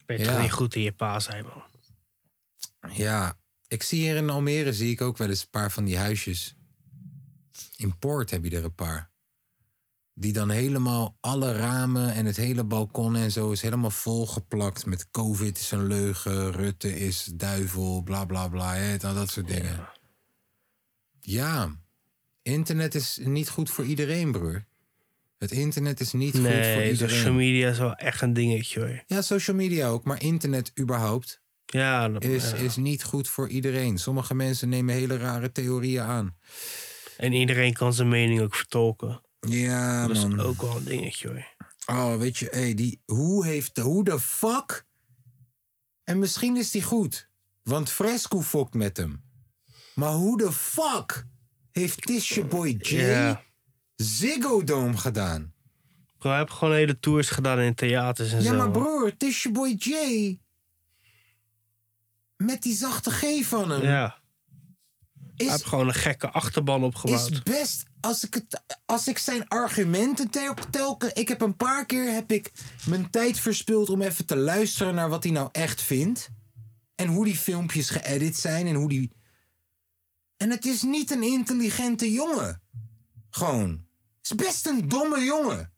Speaker 2: Ben je toch
Speaker 1: Ja.
Speaker 2: niet goed in je paas, zijn, man?
Speaker 1: Ja, ik zie hier in Almere zie ik ook wel eens een paar van die huisjes. In Poort heb je er een paar. Die dan helemaal alle ramen en het hele balkon en zo is helemaal volgeplakt met COVID is een leugen, Rutte is duivel, bla bla bla, hè, dat, dat soort dingen. Ja. internet is niet goed voor iedereen, broer. Het internet is niet goed voor
Speaker 2: Nee,
Speaker 1: iedereen.
Speaker 2: social media is wel echt een dingetje, hoor.
Speaker 1: Ja, social media ook, maar internet überhaupt
Speaker 2: Ja, dat,
Speaker 1: is,
Speaker 2: ja.
Speaker 1: is niet goed voor iedereen. Sommige mensen nemen hele rare theorieën aan.
Speaker 2: en iedereen kan zijn mening ook vertolken.
Speaker 1: Ja,
Speaker 2: dat is
Speaker 1: man.
Speaker 2: ook wel een dingetje, hoor.
Speaker 1: Oh, weet je, hey, die, hoe heeft, hoe de fuck? En misschien is die goed, want Fresco fokt met hem. Maar hoe de fuck heeft Tisha Boy J
Speaker 2: Ja.
Speaker 1: Ziggo Dome gedaan?
Speaker 2: Ik heb gewoon hele tours gedaan in theaters en
Speaker 1: Ja,
Speaker 2: zo.
Speaker 1: maar
Speaker 2: hoor.
Speaker 1: broer, Tisha Boy J met die zachte G van hem
Speaker 2: Ja. Hij
Speaker 1: is
Speaker 2: heeft gewoon een gekke achterban opgebouwd.
Speaker 1: is best als ik, het, als ik zijn argumenten tel, telken. Ik heb een paar keer heb ik mijn tijd verspild om even te luisteren naar wat hij nou echt vindt. En hoe die filmpjes geëdit zijn en hoe die. En het is niet een intelligente jongen. Gewoon. Het is best een domme jongen.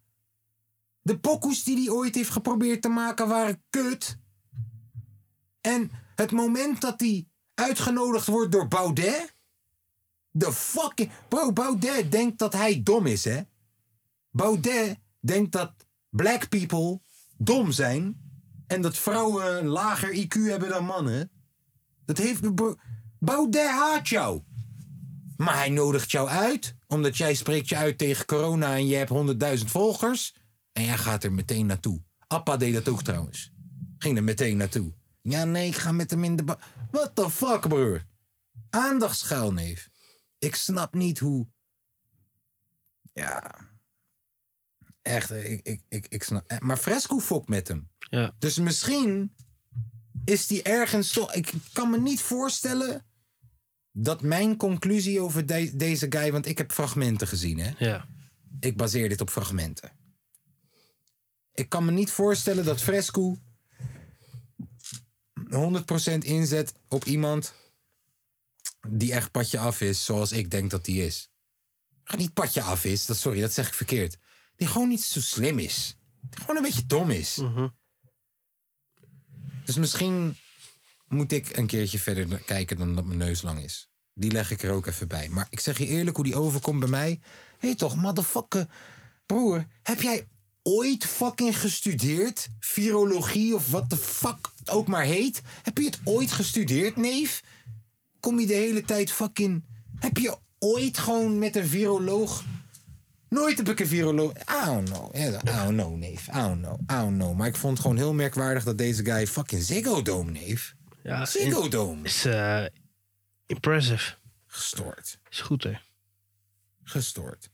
Speaker 1: De pokoes die hij ooit heeft geprobeerd te maken waren kut. En het moment dat hij uitgenodigd wordt door Baudet. De fucking. Bro, Baudet denkt dat hij dom is, hè? Baudet denkt dat black people dom zijn. En dat vrouwen een lager IQ hebben dan mannen. Dat heeft. bro- Baudet haat jou. Maar hij nodigt jou uit. Omdat jij spreekt je uit tegen corona en je hebt 100.000 volgers. En jij gaat er meteen naartoe. Appa deed dat ook trouwens. Ging er meteen naartoe. Ja, nee, ik ga met hem in de. ba- What the fuck, broer? Aandachtschuilneef. Ik snap niet hoe. Ja. Echt, ik, ik, ik, ik snap. eh, Maar Fresco fokt met hem.
Speaker 2: Ja.
Speaker 1: Dus misschien is die ergens toch. Ik kan me niet voorstellen dat mijn conclusie over de- deze guy. Want ik heb fragmenten gezien, hè?
Speaker 2: Ja.
Speaker 1: Ik baseer dit op fragmenten. Ik kan me niet voorstellen dat Fresco 100% inzet op iemand die echt patje af is, zoals ik denk dat die is. Maar Niet patje af is, dat, sorry, dat zeg ik verkeerd. Die gewoon niet zo slim is. Die gewoon een beetje dom is. Dus misschien moet ik een keertje verder na- kijken dan dat mijn neus lang is. Die leg ik er ook even bij. Maar ik zeg je eerlijk hoe die overkomt bij mij. Hé hey toch, motherfucker. Broer, heb jij ooit fucking gestudeerd? Virologie of wat de fuck het ook maar heet? Heb je het ooit gestudeerd, neef? Kom je de hele tijd fucking... Heb je ooit gewoon met een viroloog Nooit heb ik een viroloog. I don't know. I don't know, neef. I don't know. I don't know. Maar ik vond het gewoon heel merkwaardig dat deze guy fucking Ziggo Dome, neef.
Speaker 2: Ja,
Speaker 1: Ziggo Dome.
Speaker 2: is eh, impressive.
Speaker 1: Gestoord.
Speaker 2: Is goed, hè?
Speaker 1: Gestoord.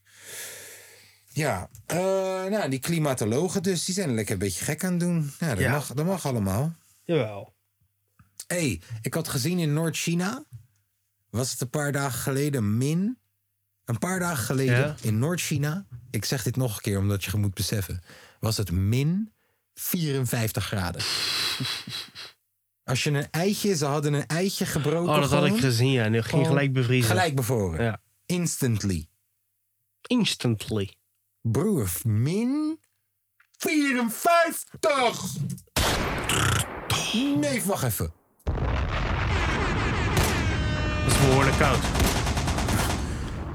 Speaker 1: Ja, eh, nou, die klimatologen dus, die zijn er lekker een beetje gek aan het doen. Ja, dat,
Speaker 2: Ja.
Speaker 1: Mag, dat mag allemaal.
Speaker 2: Jawel.
Speaker 1: Hé, hey, ik had gezien in Noord-China. Was het een paar dagen geleden min? Een paar dagen geleden
Speaker 2: Ja.
Speaker 1: in Noord-China. Ik zeg dit nog een keer omdat je moet beseffen. Was het min 54 graden. Als je een eitje, ze hadden een eitje gebroken.
Speaker 2: Oh, dat had ik
Speaker 1: gewoon.
Speaker 2: gezien, ja. En dat ging
Speaker 1: Gewoon
Speaker 2: gelijk bevriezen.
Speaker 1: Gelijk bevoren.
Speaker 2: Ja.
Speaker 1: Instantly.
Speaker 2: Instantly.
Speaker 1: Broer, min 54! Nee, wacht even.
Speaker 2: Dat is behoorlijk koud.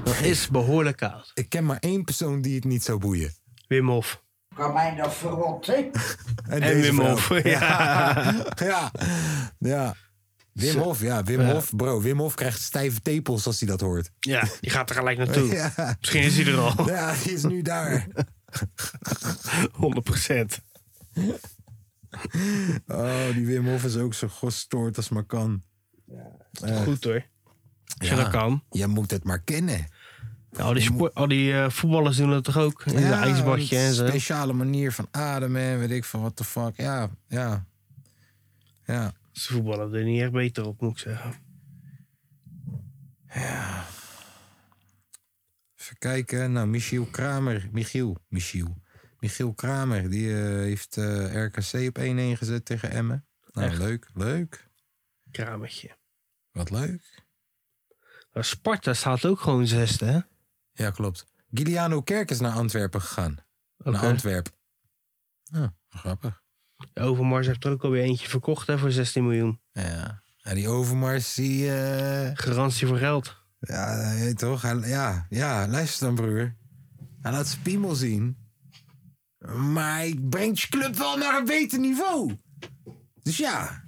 Speaker 2: Dat is behoorlijk koud.
Speaker 1: Ik ken maar één persoon die het niet zou boeien.
Speaker 2: Wim Hof.
Speaker 7: Kan mij dat verrotten?
Speaker 2: En
Speaker 1: deze
Speaker 2: Wim
Speaker 1: vrouw.
Speaker 2: Hof. (laughs)
Speaker 1: Ja. (laughs) ja. ja. Wim
Speaker 2: Zo.
Speaker 1: Hof, ja. Wim Hof, bro. Wim Hof krijgt stijve tepels als hij dat hoort.
Speaker 2: Ja, je gaat er gelijk naartoe.
Speaker 1: Ja.
Speaker 2: Misschien is hij er
Speaker 1: (laughs)
Speaker 2: al.
Speaker 1: Ja, die is nu daar.
Speaker 2: 100%.
Speaker 1: Oh, die Wim Hof is ook zo gestoord als maar kan.
Speaker 2: Goed hoor. Als je
Speaker 1: Ja.
Speaker 2: dat kan.
Speaker 1: Je moet het maar kennen.
Speaker 2: Ja, al die, spo- al die eh, voetballers doen dat toch ook? In een ijsbadje en zo.
Speaker 1: Speciale manier van ademen, weet ik van what the fuck. Ja, ja. Ja.
Speaker 2: Ze voetballen er niet echt beter op, moet ik zeggen.
Speaker 1: Even kijken. Nou, Michiel Kramer. Michiel. Michiel. Michiel Kramer. Die eh, heeft eh, RKC op 1-1 gezet tegen Emmen. Nou,
Speaker 2: Echt?
Speaker 1: leuk. Leuk.
Speaker 2: Kramertje.
Speaker 1: Wat leuk.
Speaker 2: Maar Sparta staat ook gewoon zesde, hè?
Speaker 1: Ja, klopt. Giuliano Kerk is naar Antwerpen gegaan. Naar
Speaker 2: Oké.
Speaker 1: Antwerpen. Ja, grappig.
Speaker 2: Overmars heeft er ook alweer eentje verkocht, hè, voor 16 miljoen.
Speaker 1: Ja. Ja, die Overmars, die... eh,
Speaker 2: Garantie voor geld.
Speaker 1: Ja, dat weet je toch? Hij- ja, ja, luister dan, broer. Hij laat zijn piemel zien. Maar hij brengt je club wel naar een beter niveau. Dus ja,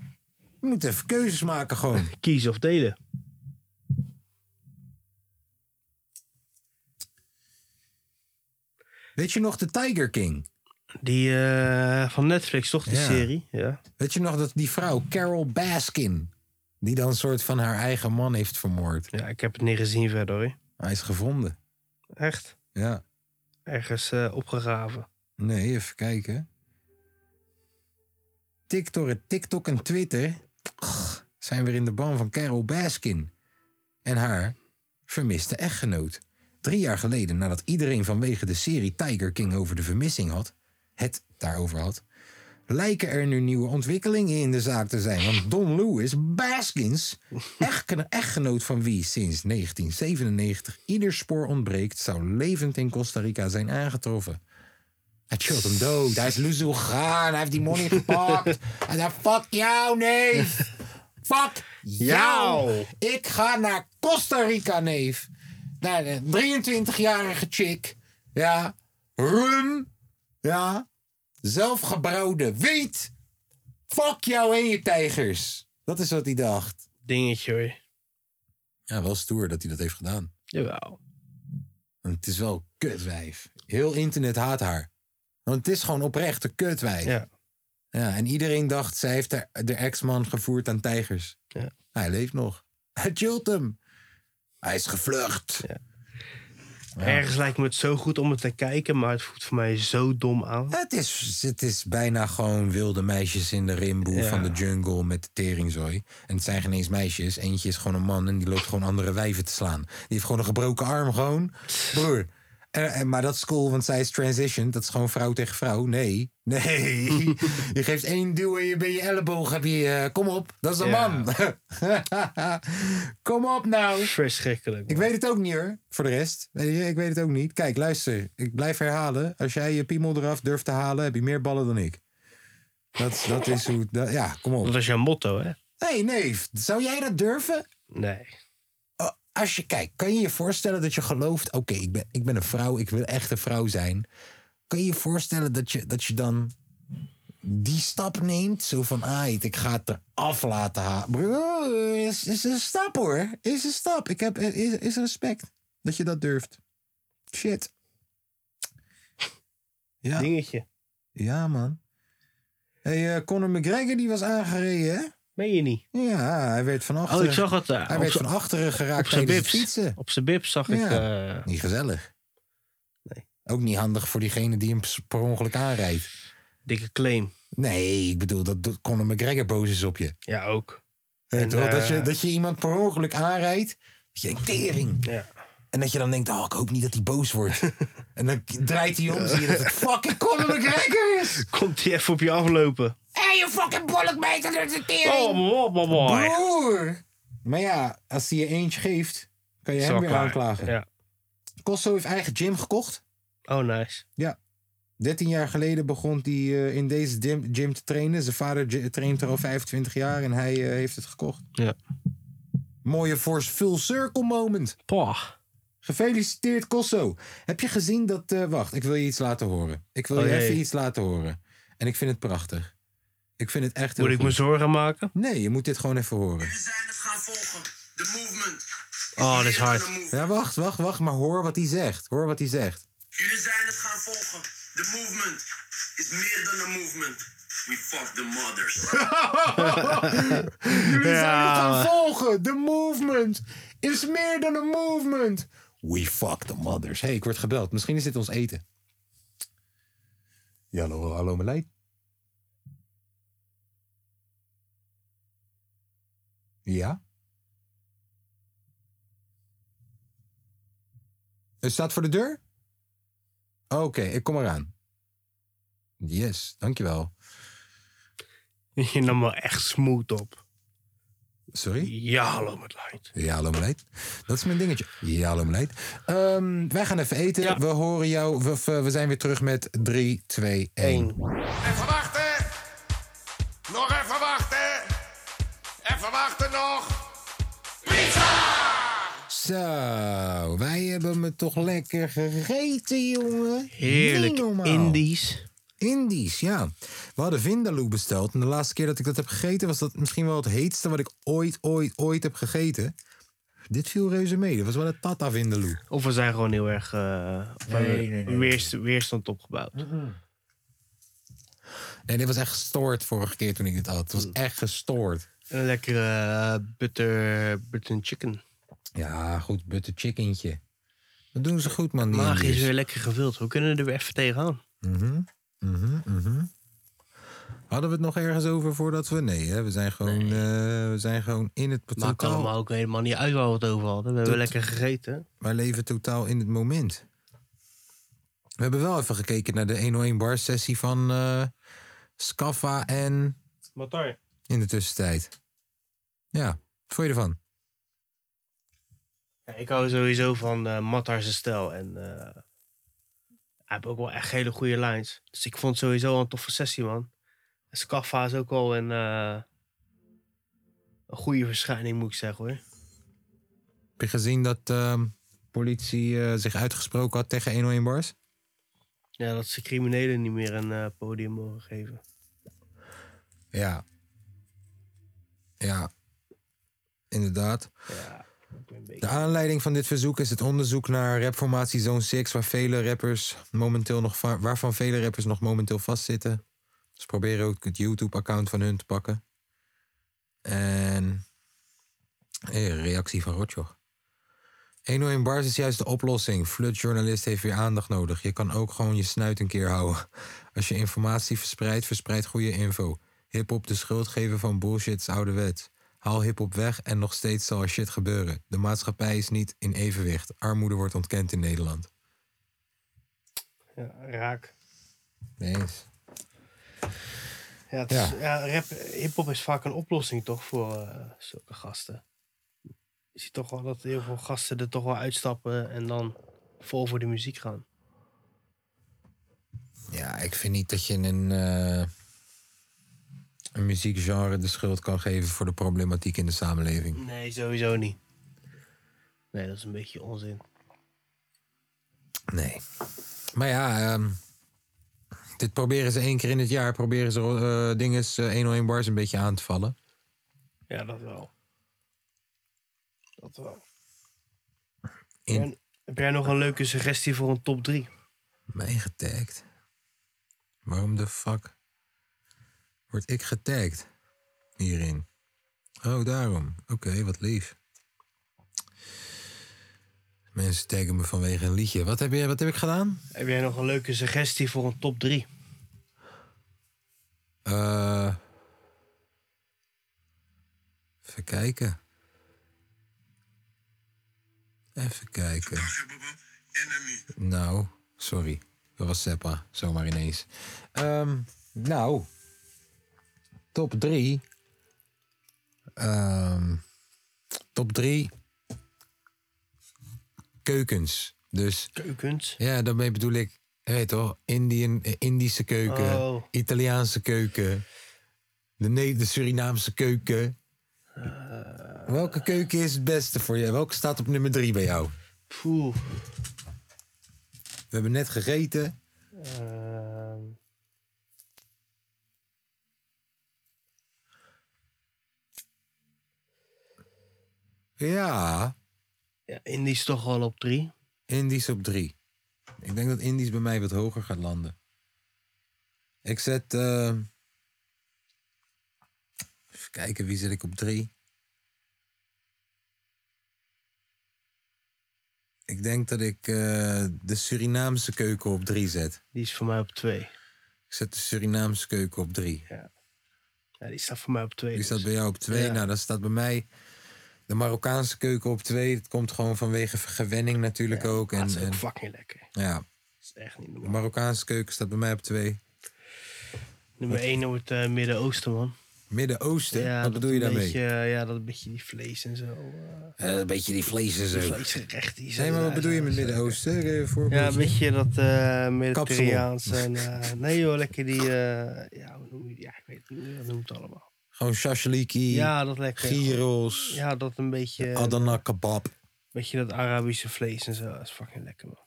Speaker 1: je moet even keuzes maken gewoon.
Speaker 2: Kiezen of delen.
Speaker 1: Weet je nog de Tiger King?
Speaker 2: Die eh, van Netflix, toch? Die
Speaker 1: Ja.
Speaker 2: serie. Ja.
Speaker 1: Weet je nog dat die vrouw, Carol Baskin... die dan een soort van haar eigen man heeft vermoord?
Speaker 2: ja, ik heb het niet gezien verder, hoor.
Speaker 1: Hij is gevonden.
Speaker 2: Echt.
Speaker 1: Ja,
Speaker 2: Ergens eh, opgegraven.
Speaker 1: nee, even kijken. TikTok, TikTok en Twitter ugh, zijn weer in de ban van Carol Baskin... en haar vermiste echtgenoot. Drie jaar geleden, nadat iedereen vanwege de serie Tiger King over de vermissing had, het daarover had, lijken er nu nieuwe ontwikkelingen in de zaak te zijn. Want Don Lewis Baskins, echtgeno- echtgenoot van wie sinds 1997 ieder spoor ontbreekt, zou levend in Costa Rica zijn aangetroffen. Hij chillt hem dood. Hij is loezel gegaan. Hij heeft die money gepakt. Hij zei, fuck jou, neef. Fuck jou. Ik ga naar Costa Rica, neef. Naar de 23-jarige chick. Ja. Rum. Ja. Zelfgebrouwde wiet. Fuck jou en je tijgers. Dat is wat hij dacht.
Speaker 2: Dingetje, hoor.
Speaker 1: Ja, wel stoer dat hij dat heeft gedaan.
Speaker 2: Jawel.
Speaker 1: Want het is wel een kutwijf. Heel internet haat haar. Want het is gewoon oprecht een kutwijf.
Speaker 2: Ja.
Speaker 1: Ja, en iedereen dacht, zij heeft haar- de ex-man gevoerd aan tijgers.
Speaker 2: Ja.
Speaker 1: Hij leeft nog. Hij chillt hem. Hij is gevlucht.
Speaker 2: Ergens lijkt me het zo goed om het te kijken, maar het voelt voor mij zo dom aan.
Speaker 1: Het, is, het is bijna gewoon wilde meisjes in de rimboe
Speaker 2: Ja.
Speaker 1: van de jungle met de teringzooi. En het zijn geen eens meisjes. Eentje is gewoon een man en die loopt gewoon andere wijven te slaan. Die heeft gewoon een gebroken arm gewoon. Broer. En, en- maar dat is cool, want zij is transition. Dat is gewoon vrouw tegen vrouw. Nee.
Speaker 2: (laughs)
Speaker 1: Nee. je geeft één duw en je bij je elleboog heb je... eh, kom op, dat is een
Speaker 2: Ja.
Speaker 1: man. (laughs) kom op nou.
Speaker 2: Verschrikkelijk.
Speaker 1: Ik
Speaker 2: man.
Speaker 1: weet het ook niet hoor, voor de rest. Weet je, Ik weet het ook niet. Kijk, luister, ik blijf herhalen. Als jij je piemel eraf durft te halen, heb je meer ballen dan ik. Dat, dat is hoe... dat- ja, kom op.
Speaker 2: Dat is jouw motto, hè?
Speaker 1: hey, neef, zou jij dat durven?
Speaker 2: Nee.
Speaker 1: Oh, Als je kijkt, kan je je voorstellen dat je gelooft... Oké, ik, ben, ik ben een vrouw, ik wil echt een vrouw zijn. Kan je je voorstellen dat je, dat je dan die stap neemt? Zo van, ah, ik ga het eraf laten halen. Bro, is, is een stap eh, hoor. Is een stap. Ik heb, is, is respect dat je dat durft. Shit. Ja.
Speaker 2: dingetje.
Speaker 1: Ja, man. Hey, eh, Conor McGregor die was aangereden, hè?
Speaker 2: Meen je niet?
Speaker 1: Ja, hij werd van achteren,
Speaker 2: Oh, ik zag het. eh,
Speaker 1: hij
Speaker 2: op
Speaker 1: werd
Speaker 2: z'n-
Speaker 1: van achteren
Speaker 2: op
Speaker 1: geraakt
Speaker 2: zijn
Speaker 1: tijdens het
Speaker 2: bips.
Speaker 1: fietsen.
Speaker 2: Op zijn bips zag ik...
Speaker 1: Ja.
Speaker 2: eh,
Speaker 1: Niet gezellig.
Speaker 2: Nee.
Speaker 1: Ook niet handig voor diegene die hem per ongeluk aanrijdt.
Speaker 2: dikke claim.
Speaker 1: Nee, ik bedoel, dat doet- Conor McGregor boos is op je.
Speaker 2: Ja, ook.
Speaker 1: Weet
Speaker 2: En,
Speaker 1: je wel, dat,
Speaker 2: eh,
Speaker 1: je dat je iemand per ongeluk aanrijdt. Dat je denkt, tering.
Speaker 2: Ja.
Speaker 1: En dat je dan denkt, oh, ik hoop niet dat hij boos wordt.
Speaker 2: (laughs)
Speaker 1: en dan k- draait hij om, zie je dat het fucking Conor McGregor is.
Speaker 2: Komt hij even op je aflopen.
Speaker 1: Hé, je fucking bollek meter door de
Speaker 2: Oh,
Speaker 1: tering.
Speaker 2: boy, boy, boy.
Speaker 1: Broer. Maar ja, als hij je eentje geeft, kan je
Speaker 2: Is
Speaker 1: hem
Speaker 2: al
Speaker 1: weer
Speaker 2: klaar.
Speaker 1: aanklagen.
Speaker 2: Ja.
Speaker 1: Kosso heeft eigen gym gekocht.
Speaker 2: Oh, nice.
Speaker 1: 13 jaar geleden begon hij eh, in deze gym, gym te trainen. Zijn vader gy- traint er al 25 jaar en hij eh, heeft het gekocht.
Speaker 2: Ja.
Speaker 1: Mooie force full circle moment.
Speaker 2: Pah.
Speaker 1: Gefeliciteerd, Kosso. Heb je gezien dat... eh, wacht, ik wil je iets laten horen. Ik wil
Speaker 2: Oh,
Speaker 1: je
Speaker 2: jee.
Speaker 1: even iets laten horen. En ik vind het prachtig. Ik vind het echt heel
Speaker 2: Moet ik
Speaker 1: goed.
Speaker 2: me zorgen maken?
Speaker 1: Nee, je moet dit gewoon even horen.
Speaker 2: Oh, dat is hard.
Speaker 1: Ja, wacht, wacht, wacht. Maar hoor wat hij zegt. Hoor wat hij zegt.
Speaker 8: Jullie zijn het gaan volgen. De movement is meer dan een movement. We fuck the mothers.
Speaker 1: (laughs) Jullie zijn het
Speaker 2: Ja.
Speaker 1: gaan volgen. The movement is meer dan een movement. We fuck the mothers. hey, ik word gebeld. Misschien is dit ons eten. Ja, hallo, hallo, mijn leid. Ja? Het staat voor de deur? Oké, ik kom eraan. Yes, dankjewel.
Speaker 2: Je nam me echt smooth op.
Speaker 1: Sorry?
Speaker 2: Ja, hallo met light.
Speaker 1: Ja, hallo meneer. Dat is mijn dingetje. Ja, hallo meneer. Ehm, wij gaan even eten.
Speaker 2: Ja.
Speaker 1: We horen jou. We, eh, we- we zijn weer terug met 3, 2, 1.
Speaker 5: Even wachten. Nog even wachten. Even wachten nog.
Speaker 1: Zo, wij hebben me toch lekker gegeten, jongen.
Speaker 2: Heerlijk
Speaker 1: Niet normaal.
Speaker 2: Indisch.
Speaker 1: Indisch, ja. We hadden Vindaloo besteld. En de laatste keer dat ik dat heb gegeten... was dat misschien wel het heetste wat ik ooit, ooit, ooit heb gegeten. Dit viel reuze mee. Dat was wel een Tata Vindaloo.
Speaker 2: Of we zijn gewoon heel erg eh, of we hebben weerst- weerstand opgebouwd.
Speaker 1: Nee, dit was echt gestoord vorige keer toen ik dit had. Het
Speaker 2: Mm.
Speaker 1: was echt gestoord.
Speaker 2: Een lekkere eh, butter, butter chicken.
Speaker 1: Ja, goed, butter chickentje. Dat doen ze goed, man. die
Speaker 2: Maag is
Speaker 1: Indiërs.
Speaker 2: weer lekker gevuld. We kunnen er weer even tegenaan.
Speaker 1: Mhm, mhm, mhm. Hadden we het nog ergens over voordat we... Nee, hè? We, zijn gewoon, eh, we zijn gewoon in het
Speaker 2: Maakt
Speaker 1: totaal...
Speaker 2: allemaal ook helemaal niet uit waar we het over hadden. We hebben
Speaker 1: Tot-
Speaker 2: lekker gegeten.
Speaker 1: Wij leven totaal in het moment. We hebben wel even gekeken naar de 101 bar sessie van eh Scaffa en
Speaker 2: Matar.
Speaker 1: in de tussentijd. Ja, wat vond je ervan?
Speaker 2: ik hou sowieso van eh Matar zijn stijl. En eh, hij heeft ook wel echt hele goede lines. Dus ik vond het sowieso wel een toffe sessie, man. En Scaffa is ook wel een, eh, een goede verschijning, moet ik zeggen, hoor.
Speaker 1: Heb je gezien dat eh, politie eh, zich uitgesproken had tegen 101 bars?
Speaker 2: Ja, dat ze criminelen niet meer een eh, podium mogen geven.
Speaker 1: Ja. Ja. Inderdaad.
Speaker 2: Ja, ik ben een beetje...
Speaker 1: De aanleiding van dit verzoek is het onderzoek naar rapformatie Zone 6, waar vele rappers momenteel nog va- waarvan vele rappers nog momenteel vastzitten. Ze proberen ook het YouTube-account van hun te pakken. En. Hey, reactie van Rotjoch. 101 bars is juist de oplossing. Flutjournalist heeft weer aandacht nodig. Je kan ook gewoon je snuit een keer houden. Als je informatie verspreidt, verspreid goede info. Hip-hop de schuld geven van bullshit is ouderwets. Haal hip-hop weg en nog steeds zal er shit gebeuren. De maatschappij is niet in evenwicht. Armoede wordt ontkend in Nederland.
Speaker 2: Ja, raak.
Speaker 1: Nee.
Speaker 2: Ja, het is- ja, rap, hip-hop is vaak een oplossing toch voor eh, zulke gasten. Je ziet toch wel dat heel veel gasten er toch wel uitstappen en dan vol voor de muziek gaan.
Speaker 1: Ja, ik vind niet dat je een, eh, een muziekgenre de schuld kan geven voor de problematiek in de samenleving.
Speaker 2: Nee, sowieso niet. Nee, dat is een beetje onzin.
Speaker 1: Nee. Maar ja, ehm, dit proberen ze één keer in het jaar. Proberen ze eh dinges eh, 101 bars een beetje aan te vallen.
Speaker 2: Ja, dat wel. Dat wel.
Speaker 1: In-
Speaker 2: En heb jij nog een leuke suggestie voor een top 3?
Speaker 1: Mij getagd. Waarom de fuck word ik getagd hierin? Oh, daarom. Oké, wat lief. Mensen taggen me vanwege een liedje. Wat heb, je, wat heb ik gedaan?
Speaker 2: Heb jij nog een leuke suggestie voor een top 3?
Speaker 1: Eh, even kijken. Even kijken. Nou, sorry. Dat was Seppa. Zomaar ineens. Ehm, nou, top 3. top 3. Keukens. Dus,
Speaker 2: keukens?
Speaker 1: Ja, daarmee bedoel ik, je weet toch, Indian, eh, Indische keuken,
Speaker 2: Oh.
Speaker 1: Italiaanse keuken, de, Ne- de Surinaamse keuken.
Speaker 2: Eh.
Speaker 1: Welke keuken is het beste voor je? Welke staat op nummer 3 bij jou?
Speaker 2: Poeh.
Speaker 1: We hebben net gegeten.
Speaker 2: Ehm.
Speaker 1: Ja.
Speaker 2: ja. Indisch toch wel op 3.
Speaker 1: Indisch op 3. Ik denk dat Indisch bij mij wat hoger gaat landen. Ik zet. eh, even kijken, wie zet ik op 3? Ik denk dat ik eh, de Surinaamse keuken op 3 zet.
Speaker 2: Die is voor mij op 2.
Speaker 1: Ik zet de Surinaamse keuken op 3.
Speaker 2: Ja. die staat voor mij op dus 2.
Speaker 1: Die staat bij jou op 2.
Speaker 2: Ja.
Speaker 1: Nou, dan staat bij mij de Marokkaanse keuken op 2. Dat komt gewoon vanwege gewenning natuurlijk ook. En,
Speaker 2: dat is ook
Speaker 1: en-
Speaker 2: fucking lekker.
Speaker 1: Ja.
Speaker 2: is echt niet
Speaker 1: De Marokkaanse keuken staat bij mij op 2.
Speaker 2: Nummer 1 wordt eh, Midden-Oosten, man.
Speaker 1: Midden-Oosten?
Speaker 2: Ja,
Speaker 1: Wat
Speaker 2: dat
Speaker 1: bedoel je
Speaker 2: een
Speaker 1: daarmee?
Speaker 2: beetje, eh, ja, dat een beetje die vlees en zo. eh.
Speaker 1: Eh, een beetje die vlees en zo.
Speaker 2: Die eh. vleesgerechten.
Speaker 1: Nee, maar wat bedoel je met Midden-Oosten? eh, Kun je een voorbeeldje?
Speaker 2: Ja, een beetje dat eh
Speaker 1: Kapsalon.
Speaker 2: Mediterraans. En, eh, nee joh, lekker die... eh, ja, hoe noem je die? Ja, ik weet het niet hoe je dat noemt allemaal.
Speaker 1: Gewoon shashaliki,
Speaker 2: Ja, dat lekker.
Speaker 1: gyros,
Speaker 2: Ja, dat een beetje...
Speaker 1: Adana kebab.
Speaker 2: Beetje dat Arabische vlees en zo. Dat is fucking lekker, man.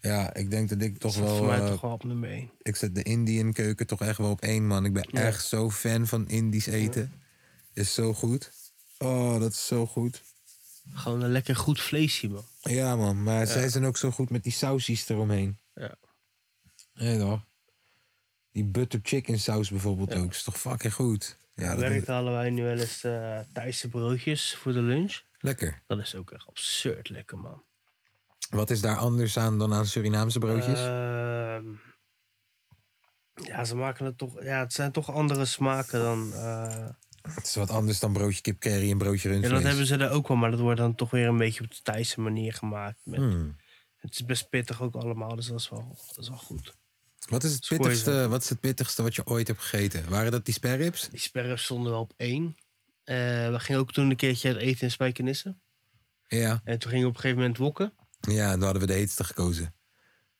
Speaker 1: Ja, ik denk dat ik toch
Speaker 2: dat
Speaker 1: wel...
Speaker 2: voor mij
Speaker 1: eh,
Speaker 2: toch wel op nummer 1.
Speaker 1: Ik zet de Indian keuken toch echt wel op één, man. Ik ben
Speaker 2: Ja.
Speaker 1: echt zo fan van Indisch eten. Is zo goed. Oh, dat is zo goed.
Speaker 2: Gewoon een lekker goed vleesje, man.
Speaker 1: Ja, man. Maar
Speaker 2: Ja.
Speaker 1: zij zijn ook zo goed met die sausjes eromheen.
Speaker 2: Ja.
Speaker 1: Nee, toch? Die butter chicken saus bijvoorbeeld ook. Is toch fucking goed? Ja,
Speaker 2: Ja,
Speaker 1: dat is
Speaker 2: werkt allebei nu wel eens eh Thaise broodjes voor de lunch.
Speaker 1: lekker.
Speaker 2: Dat is ook echt absurd lekker, man.
Speaker 1: Wat is daar anders aan dan aan Surinaamse broodjes?
Speaker 2: Ehm, ja, ze maken het toch... Ja, het zijn toch andere smaken dan... eh,
Speaker 1: het is wat anders dan broodje kip curry en broodje
Speaker 2: ja,
Speaker 1: rundvlees.
Speaker 2: dat hebben ze daar ook wel, maar dat wordt dan toch weer een beetje op de Thaise manier gemaakt. Met,
Speaker 1: Hmm.
Speaker 2: Het is best pittig ook allemaal, dus dat is wel, dat is wel goed.
Speaker 1: Wat, is het
Speaker 2: Squares
Speaker 1: pittigste, wat is het pittigste wat je ooit hebt gegeten? Waren dat die sperrips?
Speaker 2: Die sperrips stonden wel op één. Eh, we gingen ook toen een keertje uit eten in Spijkenisse.
Speaker 1: Ja.
Speaker 2: En toen gingen we op een gegeven moment wokken.
Speaker 1: Ja, dan hadden we de heetste gekozen. (laughs)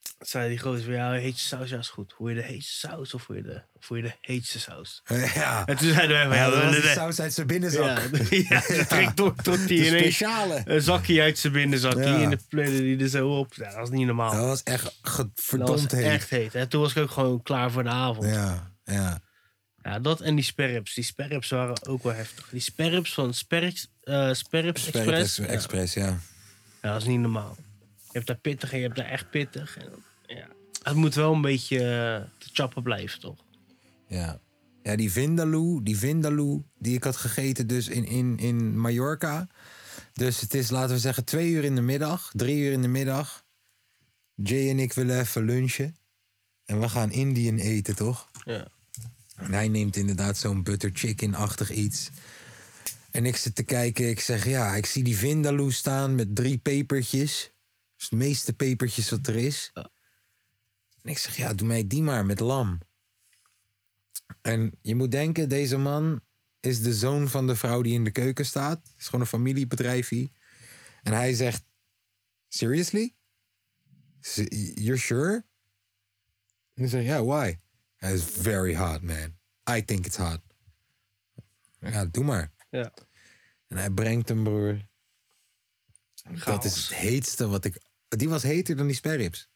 Speaker 2: Toen zei die gozer van, ja, heetste saus, ja, is goed. Hoe je de heetste saus of hoe je de, of wil je de heetste saus?
Speaker 1: Ja.
Speaker 2: (laughs) En toen zeiden wij van, ja,
Speaker 1: dat
Speaker 2: we-
Speaker 1: was
Speaker 2: de-
Speaker 1: de
Speaker 2: de-
Speaker 1: saus uit zijn (laughs) binnenzak.
Speaker 2: Ja, (laughs) ja, trekt toch tot die
Speaker 1: De
Speaker 2: ineens
Speaker 1: speciale.
Speaker 2: een zakje uit zijn binnenzakje
Speaker 1: Ja.
Speaker 2: en dan pleurde die er zo op. Ja, dat was niet normaal.
Speaker 1: Dat was echt ge-
Speaker 2: Oh. Dat was
Speaker 1: verdomd heet.
Speaker 2: echt heet. En toen was ik ook gewoon klaar voor de avond.
Speaker 1: Ja, ja.
Speaker 2: Ja, dat en die sperrips. Die sperrips waren ook wel heftig. Die sperrips van Sperrips, eh
Speaker 1: Sperrips
Speaker 2: sperrips Express. Ja.
Speaker 1: Express, ja.
Speaker 2: Ja, dat is niet normaal. Je hebt daar pittig en je hebt daar echt pittig. En, ja. Het moet wel een beetje eh, te chappen blijven, toch?
Speaker 1: Ja. Ja, die Vindaloo, die Vindaloo, die ik had gegeten dus in, in, in Mallorca. Dus het is, laten we zeggen, twee uur in de middag, drie uur in de middag. Jay en ik willen even lunchen. En we gaan Indian eten, toch?
Speaker 2: Ja.
Speaker 1: En hij neemt inderdaad zo'n butter chicken-achtig iets. En ik zit te kijken, ik zeg, ja, ik zie die Vindaloo staan met drie pepertjes. Dat is het meeste pepertjes wat er is. En ik zeg, ja, doe mij die maar met lam. En je moet denken, deze man is de zoon van de vrouw die in de keuken staat. Het is gewoon een familiebedrijfje. En hij zegt, seriously? S- You're sure? En ik zeg, yeah, why? Hij is very hot, man. I think it's hot. Ja, doe maar.
Speaker 2: Ja.
Speaker 1: En hij brengt hem, broer. Dat
Speaker 2: Chaos.
Speaker 1: is het heetste wat ik... Die was heter dan die sperrips.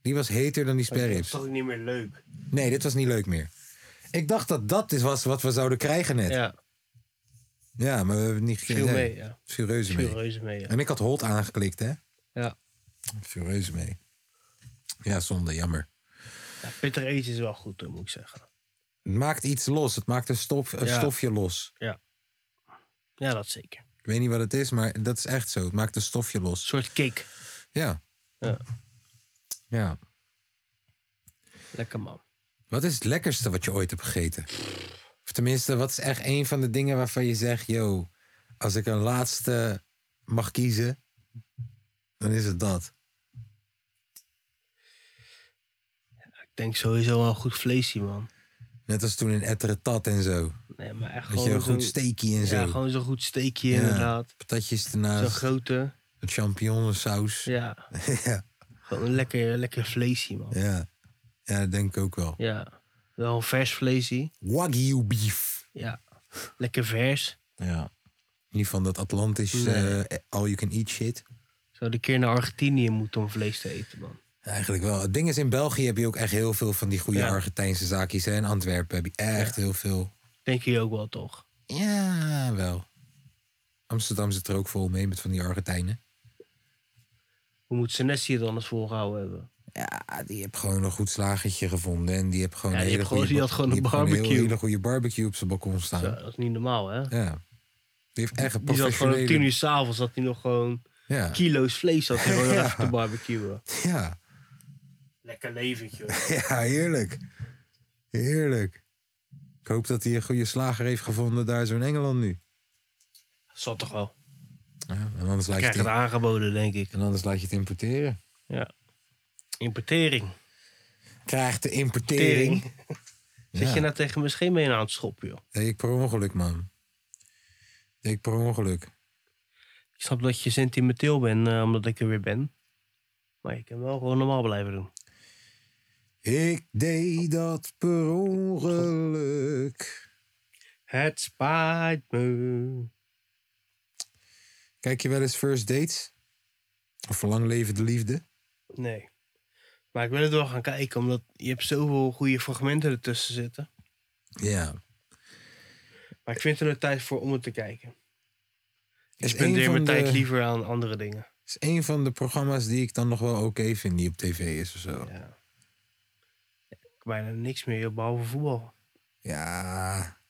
Speaker 1: Die was heter dan die
Speaker 2: Dat
Speaker 1: sperrips.
Speaker 2: is Oh, toch niet meer leuk?
Speaker 1: Nee, dit was niet leuk meer. Ik dacht dat dat is was wat we zouden krijgen net. Ja,
Speaker 2: Ja,
Speaker 1: maar we hebben het niet gekregen.
Speaker 2: viel mee. Ja.
Speaker 1: Viel reuze mee.
Speaker 2: Viel reuze mee, ja.
Speaker 1: En ik had hot aangeklikt, hè?
Speaker 2: Ja.
Speaker 1: Viel reuze mee. Ja, zonde, jammer.
Speaker 2: Ja, Peter Age is wel goed, hoor, moet ik zeggen.
Speaker 1: Het maakt iets los. Het maakt een, stof, een
Speaker 2: Ja.
Speaker 1: stofje los.
Speaker 2: Ja. Ja, dat zeker.
Speaker 1: Ik weet niet wat het is, maar dat is echt zo. Het maakt een stofje los. Een
Speaker 2: soort cake.
Speaker 1: Ja.
Speaker 2: Ja.
Speaker 1: Ja.
Speaker 2: Lekker man.
Speaker 1: Wat is het lekkerste wat je ooit hebt gegeten? Of tenminste, wat is echt een van de dingen waarvan je zegt... yo, als ik een laatste mag kiezen, dan is het dat.
Speaker 2: Ik denk sowieso wel een goed vleesje, man.
Speaker 1: Net als toen in Etretat en zo.
Speaker 2: Nee, maar echt
Speaker 1: Dat je
Speaker 2: gewoon
Speaker 1: een goed
Speaker 2: zo'n-
Speaker 1: steekje en zo.
Speaker 2: Ja, gewoon zo'n goed steekje
Speaker 1: Ja,
Speaker 2: inderdaad.
Speaker 1: Patatjes ernaast.
Speaker 2: Zo'n grote.
Speaker 1: Het champignonsaus.
Speaker 2: Ja.
Speaker 1: (laughs) ja.
Speaker 2: Gewoon een lekker, lekker vleesje, man.
Speaker 1: Ja. ja, dat denk ik ook wel.
Speaker 2: Ja. Wel een vers vleesje.
Speaker 1: Wagyu beef.
Speaker 2: Ja. Lekker vers.
Speaker 1: Ja. Niet van dat Atlantisch
Speaker 2: Nee.
Speaker 1: eh, all you can eat shit.
Speaker 2: Zou de keer naar Argentinië moeten om vlees te eten, man.
Speaker 1: Eigenlijk wel. Het ding is, in België heb je ook echt heel veel van die goede
Speaker 2: Ja.
Speaker 1: Argentijnse zaakjes. hè. In Antwerpen heb je echt heel veel.
Speaker 2: Denk je ook wel, toch?
Speaker 1: Ja, wel. Amsterdam zit er ook vol mee met van die Argentijnen.
Speaker 2: Hoe moet Senesi het anders volgehouden hebben?
Speaker 1: Ja, die heb gewoon een goed slagertje gevonden. En die heb gewoon
Speaker 2: Ja,
Speaker 1: een
Speaker 2: die
Speaker 1: hele
Speaker 2: heb gewoon-
Speaker 1: goede
Speaker 2: die
Speaker 1: ba-
Speaker 2: had gewoon een
Speaker 1: heeft heel-
Speaker 2: barbecue.
Speaker 1: hele goede barbecue op zijn balkon staan.
Speaker 2: Zo, dat is niet normaal, hè?
Speaker 1: Ja. Die heeft echt een
Speaker 2: Die zat gewoon om
Speaker 1: professionele...
Speaker 2: tien uur s'avonds, had hij nog gewoon
Speaker 1: Ja.
Speaker 2: kilo's vlees had hij gewoon nog
Speaker 1: (laughs) Ja.
Speaker 2: even te barbecuen.
Speaker 1: Ja.
Speaker 2: Lekker leventje.
Speaker 1: Ja, heerlijk. Heerlijk. Ik hoop dat hij een goede slager heeft gevonden daar zo in Engeland nu.
Speaker 2: Zat toch wel.
Speaker 1: Ja, en anders laat je
Speaker 2: Krijg
Speaker 1: het
Speaker 2: het
Speaker 1: in-
Speaker 2: aangeboden, denk ik.
Speaker 1: en anders laat je het importeren.
Speaker 2: Ja. Importering.
Speaker 1: Krijgt de importering.
Speaker 2: Zit
Speaker 1: Ja.
Speaker 2: je nou tegen mijn scheenbeen aan het schoppen, joh?
Speaker 1: Deed ik per ongeluk, man. Deed ik per ongeluk.
Speaker 2: Ik snap dat je sentimenteel bent, eh, omdat ik er weer ben. Maar je kan wel gewoon normaal blijven doen.
Speaker 1: Ik deed dat per ongeluk.
Speaker 2: Het spijt me.
Speaker 1: Kijk je wel eens First Dates? Of Lang Leven de Liefde?
Speaker 2: Nee. Maar ik wil het wel gaan kijken, omdat je hebt zoveel goede fragmenten ertussen zitten.
Speaker 1: Ja.
Speaker 2: Maar ik vind er nog tijd voor om het te kijken. Ik
Speaker 1: Is
Speaker 2: spendeer
Speaker 1: één
Speaker 2: mijn
Speaker 1: van de-
Speaker 2: tijd liever aan andere dingen.
Speaker 1: Is een van de programma's die ik dan nog wel oké vind die op tv is of zo.
Speaker 2: Ja. Ik bijna niks meer, joh, behalve voetbal.
Speaker 1: Ja.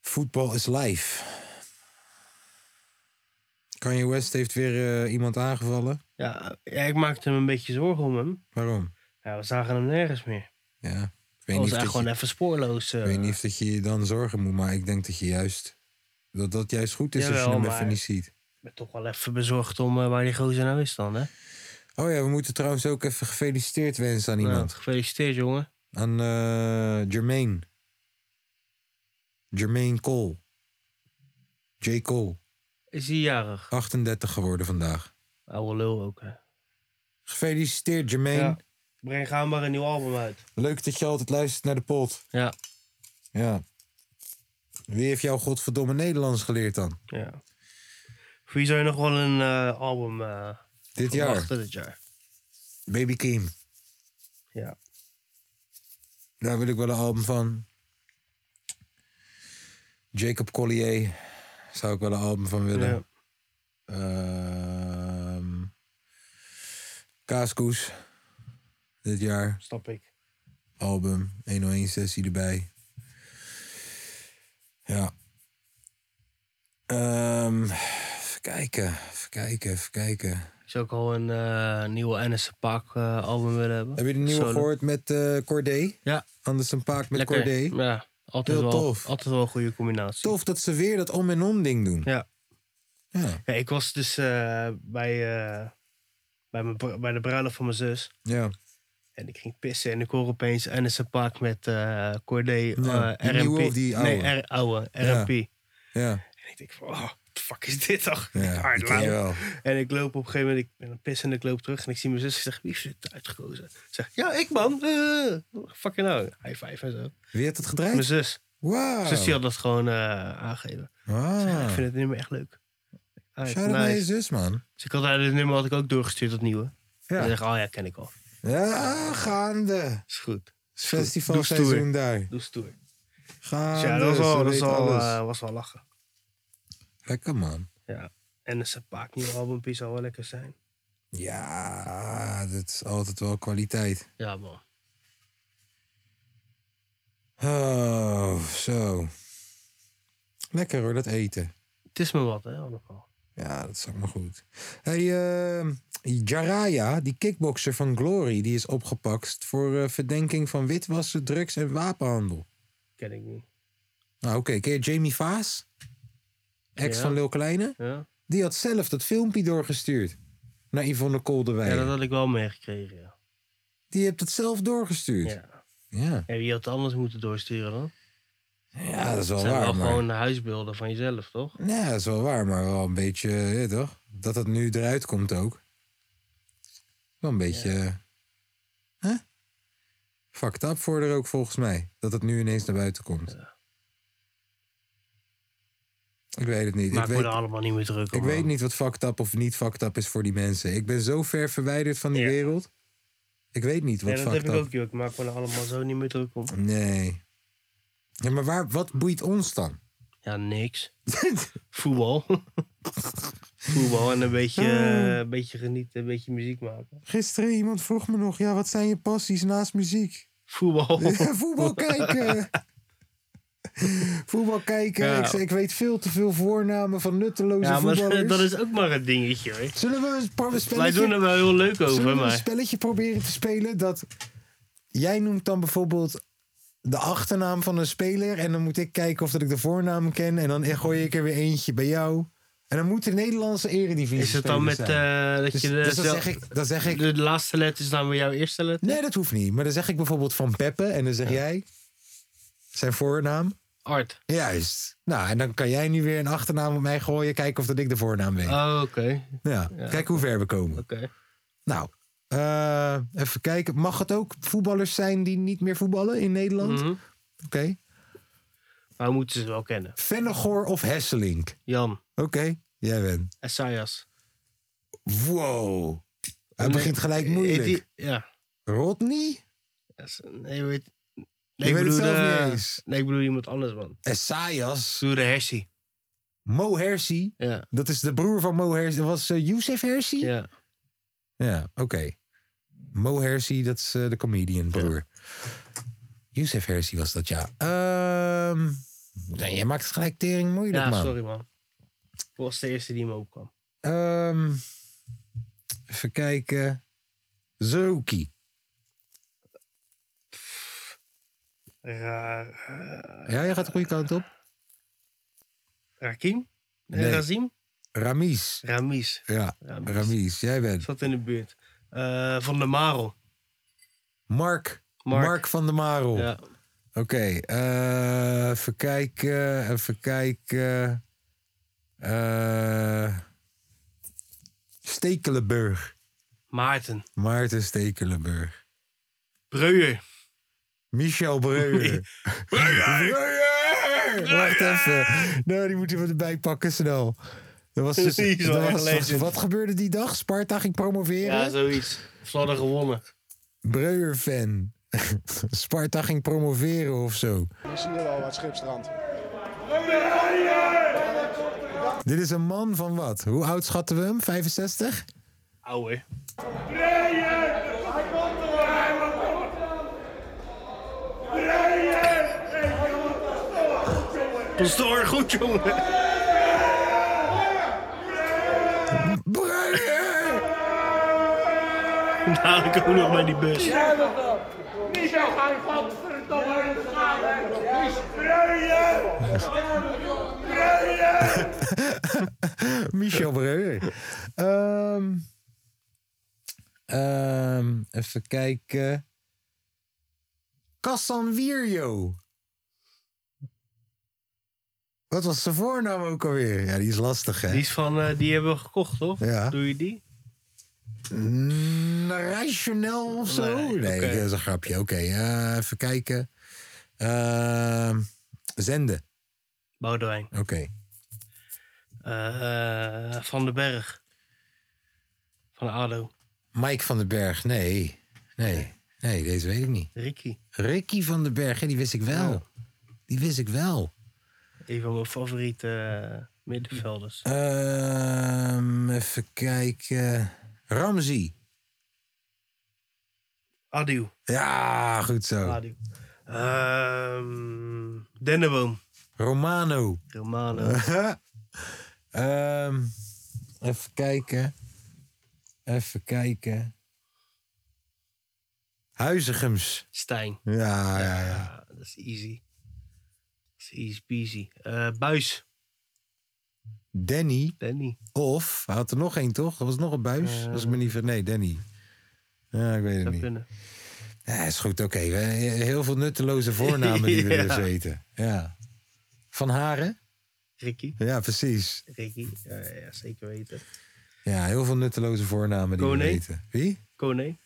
Speaker 1: Voetbal is live. Kanye West heeft weer eh, iemand aangevallen.
Speaker 2: Ja, ja, ik maakte me een beetje zorgen om hem.
Speaker 1: Waarom?
Speaker 2: Ja, we zagen hem nergens meer.
Speaker 1: Ja. Ik
Speaker 2: Oh, Hij
Speaker 1: weet, niet of,
Speaker 2: was eigenlijk
Speaker 1: dat
Speaker 2: gewoon
Speaker 1: je,
Speaker 2: even spoorloos. eh.
Speaker 1: ik weet niet of dat je je dan zorgen moet, maar ik denk dat je juist. Dat dat juist goed is als je
Speaker 2: Jawel,
Speaker 1: hem
Speaker 2: maar-
Speaker 1: even niet ziet.
Speaker 2: Ik ben toch wel even bezorgd om eh, waar die gozer nou is dan, hè?
Speaker 1: Oh ja, we moeten trouwens ook even gefeliciteerd wensen aan
Speaker 2: Nou,
Speaker 1: iemand.
Speaker 2: gefeliciteerd, jongen.
Speaker 1: Aan eh Jermaine. Jermaine Cole. J. Cole.
Speaker 2: Is hij jarig?
Speaker 1: 38 geworden vandaag.
Speaker 2: Oude lul ook, hè?
Speaker 1: Gefeliciteerd, Jermaine.
Speaker 2: Ja. Breng gaan maar een nieuw album uit.
Speaker 1: Leuk dat je altijd luistert naar de pot.
Speaker 2: Ja.
Speaker 1: Ja. Wie heeft jou godverdomme Nederlands geleerd dan?
Speaker 2: ja. Voor je zou je nog wel een eh, album eh,
Speaker 1: Dit
Speaker 2: van
Speaker 1: jaar?
Speaker 2: wachten dit jaar.
Speaker 1: Baby Kim.
Speaker 2: Ja.
Speaker 1: Daar wil ik wel een album van. Jacob Collier. Zou ik wel een album van willen. Ehm Kaaskoes. Dit jaar.
Speaker 2: Snap ik.
Speaker 1: Album. 101 sessie erbij. Ja. Ehm, even kijken. Even kijken. Even kijken.
Speaker 2: Ik zou ook al een eh, nieuwe Ennis Pak eh, album willen hebben.
Speaker 1: Heb je de nieuwe
Speaker 2: Solo.
Speaker 1: gehoord met eh Cordé?
Speaker 2: Ja.
Speaker 1: Anders een paak met
Speaker 2: Lekker.
Speaker 1: Cordé.
Speaker 2: Ja, altijd
Speaker 1: Heel
Speaker 2: wel,
Speaker 1: tof.
Speaker 2: Altijd wel een goede combinatie.
Speaker 1: Tof dat ze weer dat om en om ding doen.
Speaker 2: Ja.
Speaker 1: Ja.
Speaker 2: Ja, ik was dus eh, bij, eh, bij, mijn, br- bij de bruiloft van mijn zus.
Speaker 1: Ja.
Speaker 2: En ik ging pissen en ik hoor opeens Ennis Pak met eh Cordé.
Speaker 1: Ja,
Speaker 2: eh,
Speaker 1: die nieuwe
Speaker 2: RMP.
Speaker 1: of die oude?
Speaker 2: Nee, R oude.
Speaker 1: Ja.
Speaker 2: RMP.
Speaker 1: Ja.
Speaker 2: En ik denk van, oh, what the fuck is dit toch?
Speaker 1: Ja, die ken je wel.
Speaker 2: En ik loop op een gegeven moment, ik ben aan het pissen en ik loop terug en ik zie mijn zus. Ik zeg, wie heeft dit uitgekozen? Ik zeg, ja, ik man. Eh, fucking nou. High five en zo.
Speaker 1: Wie heeft het
Speaker 2: Mijn
Speaker 1: gedraaid?
Speaker 2: zus.
Speaker 1: Wauw.
Speaker 2: Mijn zus die had dat gewoon eh, aangegeven. Ik zeg, ik
Speaker 1: Ah.
Speaker 2: vind het nummer echt leuk. Ah,
Speaker 1: Shout out naar je
Speaker 2: nice.
Speaker 1: zus, man.
Speaker 2: Dus ik had haar dit nummer had ik ook doorgestuurd, dat nieuwe. En ik
Speaker 1: Ja.
Speaker 2: zeg, oh ja, ken ik al.
Speaker 1: Ja, gaande.
Speaker 2: Is goed. Is goed. Doe
Speaker 1: Festivalseizoen
Speaker 2: stoer.
Speaker 1: daar.
Speaker 2: Doe stoer. Dus
Speaker 1: Gaande.
Speaker 2: ja, dat
Speaker 1: Ah,
Speaker 2: was
Speaker 1: ze
Speaker 2: wel, dat
Speaker 1: weet
Speaker 2: was wel,
Speaker 1: alles.
Speaker 2: eh, was wel lachen.
Speaker 1: Lekker, man.
Speaker 2: Ja. En een Sapaak nieuw albumpje zou wel lekker zijn.
Speaker 1: Ja, dat is altijd wel kwaliteit.
Speaker 2: Ja, man.
Speaker 1: Oh, zo. Lekker hoor, dat eten.
Speaker 2: Het is me wat, hè, allemaal.
Speaker 1: Ja, dat is maar goed. hey, eh, Jaraya, die kickboxer van Glory, die is opgepakt voor eh, verdenking van witwassen, drugs en wapenhandel.
Speaker 2: Ken ik niet.
Speaker 1: Nou, oké, ken je Jamie Vaas? Ex
Speaker 2: Ja.
Speaker 1: van Lil Kleine?
Speaker 2: Ja.
Speaker 1: Die had zelf dat filmpje doorgestuurd naar Yvonne Koldewijn.
Speaker 2: Ja, dat had ik wel meegekregen, ja.
Speaker 1: Die heeft het zelf doorgestuurd.
Speaker 2: Ja.
Speaker 1: Ja.
Speaker 2: En wie had het anders moeten doorsturen dan?
Speaker 1: Ja, dat is wel
Speaker 2: Het zijn
Speaker 1: waar,
Speaker 2: wel
Speaker 1: maar-
Speaker 2: gewoon de huisbeelden van jezelf, toch?
Speaker 1: Ja, dat is wel waar, maar wel een beetje, eh, ja, toch? Dat het nu eruit komt ook. Wel een beetje. eh, Hè? Fucked up voor er ook volgens mij. Dat het nu ineens naar buiten komt. Ik weet het niet.
Speaker 2: Maar
Speaker 1: ik
Speaker 2: ik
Speaker 1: weet,
Speaker 2: word er allemaal niet meer druk om.
Speaker 1: ik weet niet wat fucked up of niet fucked up is voor die mensen. Ik ben zo ver verwijderd van die wereld. Ik weet niet wat
Speaker 2: Nee, dat heb
Speaker 1: fucked
Speaker 2: ik
Speaker 1: up
Speaker 2: ook, joh. Ik maak me er allemaal zo niet meer druk om.
Speaker 1: Nee. Ja, maar waar, wat boeit ons dan?
Speaker 2: Ja,
Speaker 1: (laughs)
Speaker 2: niks. Voetbal. Voetbal en een beetje,
Speaker 1: Ah.
Speaker 2: eh, een beetje genieten, een beetje muziek maken.
Speaker 1: Gisteren iemand vroeg me nog, ja, wat zijn je passies naast muziek? (laughs)
Speaker 2: Voetbal.
Speaker 1: Ja, voetbal (laughs) kijken. voetbal kijken.
Speaker 2: Ja.
Speaker 1: Ik, zei, ik weet veel te veel voornamen van nutteloze
Speaker 2: Ja, maar (laughs)
Speaker 1: voetballers.
Speaker 2: dat is ook maar een dingetje, hoor.
Speaker 1: Zullen we een paar spelletje...
Speaker 2: Wij doen er wel heel leuk
Speaker 1: Zullen
Speaker 2: over,
Speaker 1: we een
Speaker 2: maar...
Speaker 1: spelletje proberen te spelen dat... Jij noemt dan bijvoorbeeld de achternaam van een speler... en dan moet ik kijken of dat ik de voornaam ken... en dan gooi ik er weer eentje bij jou... En dan moet de Nederlandse eredivisie
Speaker 2: Is het dan met
Speaker 1: spelers zijn.
Speaker 2: eh, dat
Speaker 1: Dus-
Speaker 2: je de,
Speaker 1: dus dan
Speaker 2: zel-
Speaker 1: zeg ik- dan zeg ik-
Speaker 2: de laatste letter is dan weer jouw eerste letter?
Speaker 1: Nee, dat hoeft niet. Maar dan zeg ik bijvoorbeeld van Peppe en dan zeg jij zijn voornaam.
Speaker 2: Art.
Speaker 1: Juist. Nou, en dan kan jij nu weer een achternaam op mij gooien. Kijken of dat ik de voornaam weet.
Speaker 2: Oh, oké.
Speaker 1: ja. Kijk hoe ver we komen.
Speaker 2: Oké.
Speaker 1: Nou, eh, even kijken. Mag het ook voetballers zijn die niet meer voetballen in Nederland?
Speaker 2: Mhm.
Speaker 1: Oké.
Speaker 2: Maar we moeten ze wel kennen.
Speaker 1: Vennegoor of Hesselink?
Speaker 2: Jan,
Speaker 1: Oké, jij bent.
Speaker 2: Esaias.
Speaker 1: Wow. Hij
Speaker 2: Nee,
Speaker 1: begint gelijk
Speaker 2: heet
Speaker 1: moeilijk.
Speaker 2: die- ja.
Speaker 1: Rodney?
Speaker 2: Es- Nee, weet...
Speaker 1: weet het
Speaker 2: bedoel
Speaker 1: zelf
Speaker 2: de-
Speaker 1: niet eens.
Speaker 2: Nee, ik bedoel iemand anders, man.
Speaker 1: Esaias?
Speaker 2: Doe de hersie.
Speaker 1: Mo Hersi?
Speaker 2: Ja.
Speaker 1: Dat is de broer van Mo Hersi. Dat was eh Youssef Hersi?
Speaker 2: Ja.
Speaker 1: Ja, oké. Mo Hersi, dat is eh, de comedian, broer. Youssef Hersi was dat, ja. Ehm, nee, jij maakt het gelijk tering moeilijk,
Speaker 2: ja,
Speaker 1: man.
Speaker 2: sorry, man. Ik was de eerste die me opkwam.
Speaker 1: Ehm, even kijken. Zerouki.
Speaker 2: Ra
Speaker 1: Ja, jij gaat de goede kant op.
Speaker 2: Rakim? Nee,
Speaker 1: Nee.
Speaker 2: Razim?
Speaker 1: Ramis.
Speaker 2: Ramis.
Speaker 1: Ja,
Speaker 2: Ramis.
Speaker 1: Ramis. Jij bent
Speaker 2: Zat in de buurt. Eh, van de Marel.
Speaker 1: Mark. Mark,
Speaker 2: Mark.
Speaker 1: van der Marel.
Speaker 2: Ja.
Speaker 1: Oké, eh, even kijken, even kijken. Eh, Stekelenburg.
Speaker 2: Maarten.
Speaker 1: Maarten Stekelenburg.
Speaker 2: Breuer.
Speaker 1: Michel Breuer. Breuer! Wacht even. Nou, die moeten we erbij pakken snel. Dat was dus,
Speaker 2: Die is wel
Speaker 1: dat
Speaker 2: echt
Speaker 1: was-
Speaker 2: legend.
Speaker 1: wat gebeurde die dag? Sparta ging promoveren.
Speaker 2: Ja, zoiets. Vladder gewonnen.
Speaker 1: Breuer-fan. (laughs) Sparta ging promoveren of zo.
Speaker 9: We zien hier al wat Schipstrand.
Speaker 1: Dit is een man van wat? Hoe oud schatten we hem? 65?
Speaker 2: Ouwe. Pastoor, goed jongen.
Speaker 1: Breuer!
Speaker 2: Dadelijk ook nog met die bus.
Speaker 5: Michel, ga je godverdomme in de
Speaker 2: (laughs)
Speaker 1: Michel Breuer. Ehm, ehm, even kijken. Kassan Wierjo. Wat was zijn voornaam ook alweer? Ja, die is lastig, hè?
Speaker 2: Die, is van, eh, die hebben we gekocht, toch?
Speaker 1: Ja.
Speaker 2: Doe je die?
Speaker 1: Mm, rationeel of zo? Nee,
Speaker 2: Nee, oké.
Speaker 1: dat is een grapje. Oké, eh, even kijken. Ehm, zenden.
Speaker 2: Boudewijn.
Speaker 1: Oké.
Speaker 2: Eh, eh, van den Berg. Van ADO.
Speaker 1: Mike van den Berg, nee. Nee, nee, deze weet ik niet.
Speaker 2: Ricky.
Speaker 1: Ricky van den Berg, hè, die wist ik wel. Die wist ik wel.
Speaker 2: Een van mijn favoriete eh, middenvelders.
Speaker 1: Ehm, even kijken. Ramzi.
Speaker 2: Adieu.
Speaker 1: Ja, goed zo.
Speaker 2: Adieu. Ehm Denneboom.
Speaker 1: (laughs) Romano.
Speaker 2: Romano.
Speaker 1: Ehm, even kijken. Even kijken. Huizigems.
Speaker 2: Stijn.
Speaker 1: Ja, ja, ja.
Speaker 2: dat is easy. Dat is easy peasy. Eh, Buis.
Speaker 1: Danny.
Speaker 2: Danny.
Speaker 1: Of, hij had er nog één toch? Er was nog een buis.
Speaker 2: Eh.
Speaker 1: Als ik me niet ver... Nee, Danny. Ja, ik weet het niet.
Speaker 2: kunnen.
Speaker 1: Ja, is goed, oké. We- Heel veel nutteloze voornamen die we
Speaker 2: Ja.
Speaker 1: dus weten. Ja. Van Haren?
Speaker 2: Ricky.
Speaker 1: Ja, precies.
Speaker 2: Ricky. Ja, ja, zeker weten.
Speaker 1: Ja, heel veel nutteloze voornamen die
Speaker 2: Kone.
Speaker 1: we weten. Wie?
Speaker 2: Kone.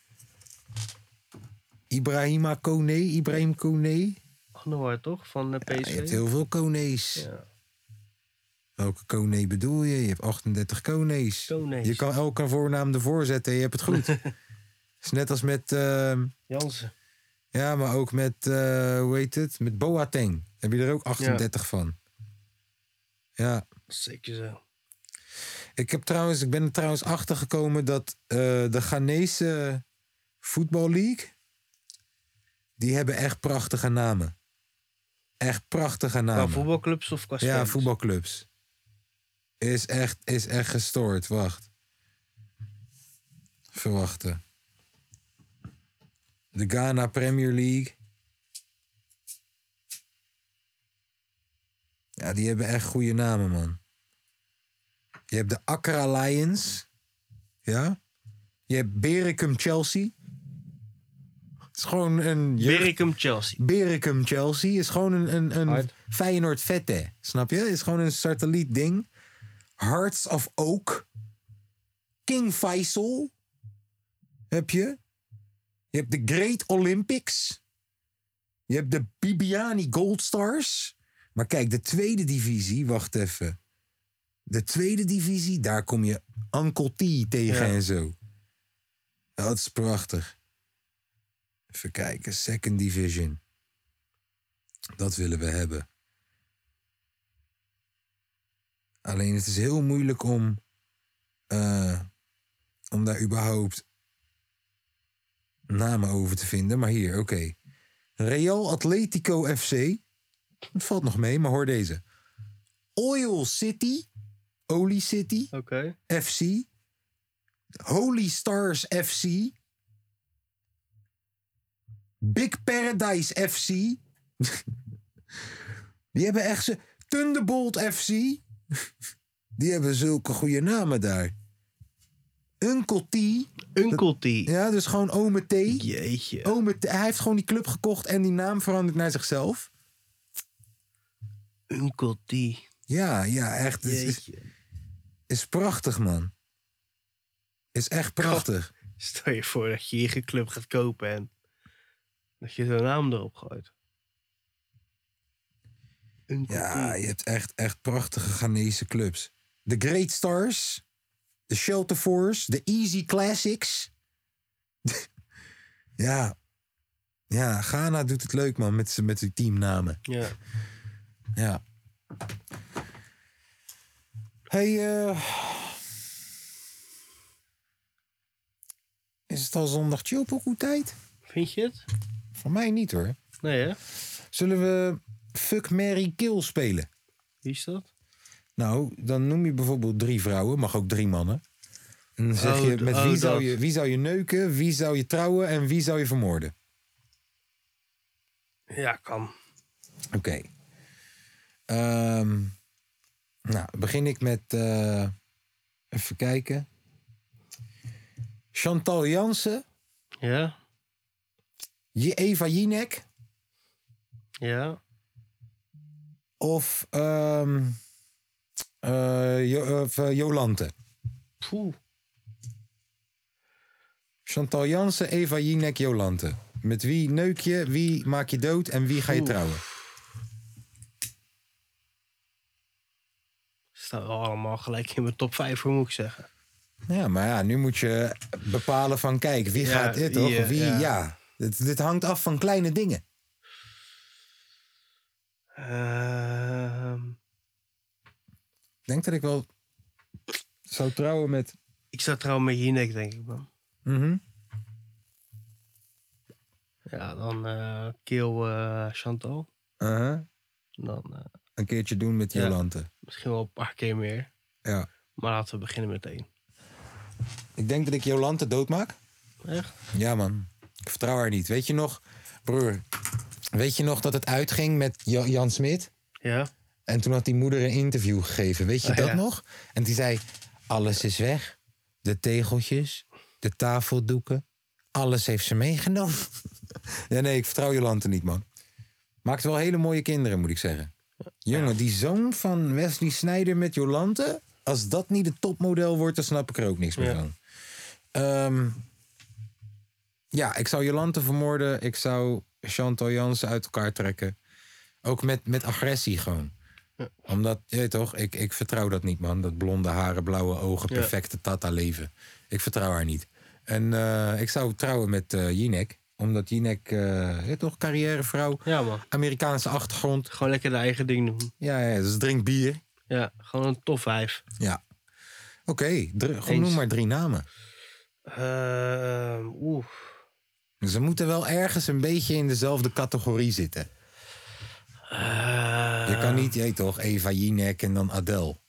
Speaker 1: Ibrahima Kone? Ibrahim Kone?
Speaker 2: Anouar toch? Van eh, PSV.
Speaker 1: Je hebt heel veel konees.
Speaker 2: Ja.
Speaker 1: Welke kone bedoel je? Je hebt 38 konees.
Speaker 2: Konees.
Speaker 1: Je kan elke voornaam ervoor zetten en je hebt het goed. Het is net als met... ehm,
Speaker 2: Jansen.
Speaker 1: Ja, maar ook met, eh, hoe heet het? Met Boateng. Heb je er ook 38 van? Ja.
Speaker 2: Zeker zo.
Speaker 1: Ik, heb trouwens, ik ben er trouwens achtergekomen dat eh, de Ghanese Voetbal League... die hebben echt prachtige namen. Echt prachtige
Speaker 2: Qua
Speaker 1: namen.
Speaker 2: voetbalclubs of qua
Speaker 1: ja,
Speaker 2: spelers?
Speaker 1: voetbalclubs. Is echt, is echt gestoord. Wacht. Verwachten. De Ghana Premier League. Ja, die hebben echt goede namen, man. Je hebt de Accra Lions. Ja. Je hebt Bericum Chelsea. Het is gewoon een... jeugd-
Speaker 2: Bericum Chelsea.
Speaker 1: Bericum Chelsea is gewoon een, een, een
Speaker 2: Hard.
Speaker 1: Feyenoord vette. Snap je? Is gewoon een satelliet ding. Hearts of Oak. King Faisal. Heb je. Je hebt de Great Olympics. Je hebt de Bibiani Gold Stars. Maar kijk, de tweede divisie, wacht even. De tweede divisie, daar kom je Uncle T tegen
Speaker 2: Ja.
Speaker 1: en zo. Dat is prachtig. Even kijken, Second Division. Dat willen we hebben. Alleen het is heel moeilijk om, eh, om daar überhaupt namen over te vinden. Maar hier, oké. Real Atletico FC. Het valt nog mee, maar hoor deze. Oil City. Olie City.
Speaker 2: Oké.
Speaker 1: FC. Holy Stars FC. Big Paradise FC. (laughs) Die hebben echt ze. Thunderbolt FC. (laughs) Die hebben zulke goede namen daar. Uncle T.
Speaker 2: Uncle T.
Speaker 1: Ja, Oh. dus gewoon Ome T.
Speaker 2: Jeetje.
Speaker 1: Ome T. Hij heeft gewoon die club gekocht en die naam veranderd naar zichzelf.
Speaker 2: Uncle T.
Speaker 1: Ja, ja, echt. Het is,
Speaker 2: Jeetje.
Speaker 1: is prachtig, man. Is echt prachtig.
Speaker 2: Stel je voor dat je je eigen club gaat kopen en dat je zo'n naam erop gooit. Uncle
Speaker 1: Ja,
Speaker 2: T.
Speaker 1: je hebt echt, echt prachtige Ghanese clubs. De Great Stars, de Shelter Force, de Easy Classics. (laughs) ja. ja, Ghana doet het leuk, man, met z'n met z'n teamnamen.
Speaker 2: Ja.
Speaker 1: Ja. hey, eh, is het al zondag Chilpokoe tijd?
Speaker 2: Vind je het?
Speaker 1: Voor mij niet, hoor.
Speaker 2: Nee hè?
Speaker 1: Zullen we Fuck, Mary Kill spelen?
Speaker 2: Wie is dat?
Speaker 1: Nou, dan noem je bijvoorbeeld drie vrouwen, mag ook drie mannen. En dan zeg
Speaker 2: Oh,
Speaker 1: je
Speaker 2: d-
Speaker 1: met
Speaker 2: oh,
Speaker 1: wie, zou
Speaker 2: dat.
Speaker 1: je, wie zou je neuken, wie zou je trouwen en wie zou je vermoorden.
Speaker 2: Ja, kan.
Speaker 1: Oké. Ehm, nou, begin ik met. eh, even kijken. Chantal Jansen,
Speaker 2: Ja.
Speaker 1: Je- Eva Jinek
Speaker 2: Ja.
Speaker 1: of. ehm, eh, Jo- of, eh, Jolante.
Speaker 2: Poeh.
Speaker 1: Chantal Jansen, Eva Jinek, Jolante. Met wie neuk je, wie maak je dood en wie ga je
Speaker 2: Oeh.
Speaker 1: trouwen?
Speaker 2: Staan wel allemaal gelijk in mijn top 5 voor moet ik zeggen.
Speaker 1: Ja, maar ja, nu moet je bepalen van kijk, wie
Speaker 2: Ja,
Speaker 1: gaat dit toch?
Speaker 2: wie, eh,
Speaker 1: Wie, ja.
Speaker 2: ja.
Speaker 1: Dit, dit hangt af van kleine dingen.
Speaker 2: Ehm,
Speaker 1: Ik denk dat ik wel zou trouwen met
Speaker 2: Ik zat trouwens met Jinek, denk ik, man.
Speaker 1: Mhm.
Speaker 2: Ja, dan eh Keel eh, Chantal.
Speaker 1: Uh-huh.
Speaker 2: Dan eh,
Speaker 1: Een keertje doen met
Speaker 2: Ja.
Speaker 1: Jolante.
Speaker 2: misschien wel een paar keer meer.
Speaker 1: Ja.
Speaker 2: Maar laten we beginnen meteen.
Speaker 1: Ik denk dat ik Jolante doodmaak.
Speaker 2: Echt?
Speaker 1: Ja, man. Ik vertrouw haar niet. Weet je nog, broer, weet je nog dat het uitging met Jo- Jan Smit?
Speaker 2: Ja.
Speaker 1: En toen had die moeder een interview gegeven. Weet je
Speaker 2: Ah,
Speaker 1: dat
Speaker 2: ja.
Speaker 1: nog? En die zei: Alles is weg. De tegeltjes, de tafeldoeken. Alles heeft ze meegenomen. (laughs) nee, nee, ik vertrouw Jolante niet, man. Maakt wel hele mooie kinderen, moet ik zeggen. Jongen, die zoon van Wesley Snijder met Jolante. Als dat niet het topmodel wordt, dan snap ik er ook niks meer
Speaker 2: Ja.
Speaker 1: van. Ehm, ja, ik zou Jolante vermoorden. Ik zou Chantal Jansen uit elkaar trekken. Ook met, met agressie gewoon. Omdat, je weet toch, ik, ik vertrouw dat niet, man. Dat blonde haren, blauwe ogen,
Speaker 2: Ja.
Speaker 1: perfecte Tata-leven. Ik vertrouw haar niet. En eh, ik zou trouwen met eh Jinek. Omdat Jinek, eh, je weet toch, carrièrevrouw.
Speaker 2: Ja, man.
Speaker 1: Amerikaanse achtergrond.
Speaker 2: Gewoon lekker de eigen ding doen.
Speaker 1: Ja, ja dus drink bier.
Speaker 2: Ja, gewoon een top 5.
Speaker 1: Ja. Oké, dr- gewoon
Speaker 2: Eens.
Speaker 1: noem maar drie namen.
Speaker 2: Ehm, Oeh.
Speaker 1: Dus Ze moeten wel ergens een beetje in dezelfde categorie zitten.
Speaker 2: Eh,
Speaker 1: Je
Speaker 2: Ah.
Speaker 1: kan niet, je weet toch, Eva Jinek en dan Adele.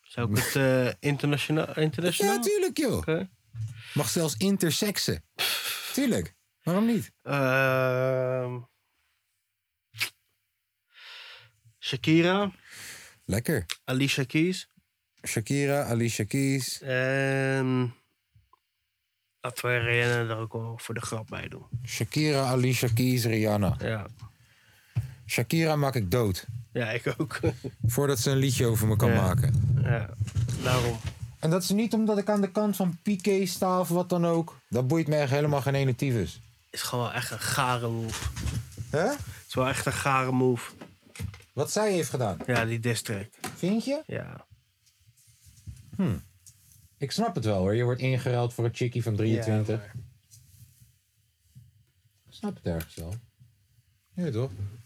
Speaker 2: Zou ik het eh, internationaal... internationaal?
Speaker 1: Ja, tuurlijk joh.
Speaker 2: Oké.
Speaker 1: Mag zelfs intersexen. Tuurlijk. Waarom niet?
Speaker 2: Ehm, Shakira,
Speaker 1: Lekker.
Speaker 2: Alicia Keys.
Speaker 1: Shakira, Alicia Keys.
Speaker 2: En laten we Rihanna er ook wel voor de grap bij doen.
Speaker 1: Shakira, Alicia Keys, Rihanna.
Speaker 2: Ja,
Speaker 1: Shakira maak ik dood.
Speaker 2: ja ik ook.
Speaker 1: Voordat ze een liedje over me kan
Speaker 2: Ja.
Speaker 1: maken.
Speaker 2: (laughs) ja, daarom.
Speaker 1: En dat is niet omdat ik aan de kant van Piqué sta of wat dan ook. Dat boeit me echt helemaal geen ene tyfus.
Speaker 2: Is gewoon wel echt een gare move.
Speaker 1: Hè?
Speaker 2: is wel echt een gare move.
Speaker 1: Wat zij heeft gedaan.
Speaker 2: Ja, die diss track.
Speaker 1: Vind je?
Speaker 2: Ja.
Speaker 1: Ik snap het wel hoor. Je wordt ingeruild voor een chickie van 23.
Speaker 2: Ja,
Speaker 1: Ik snap het ergens wel. Ja, toch?
Speaker 2: Ik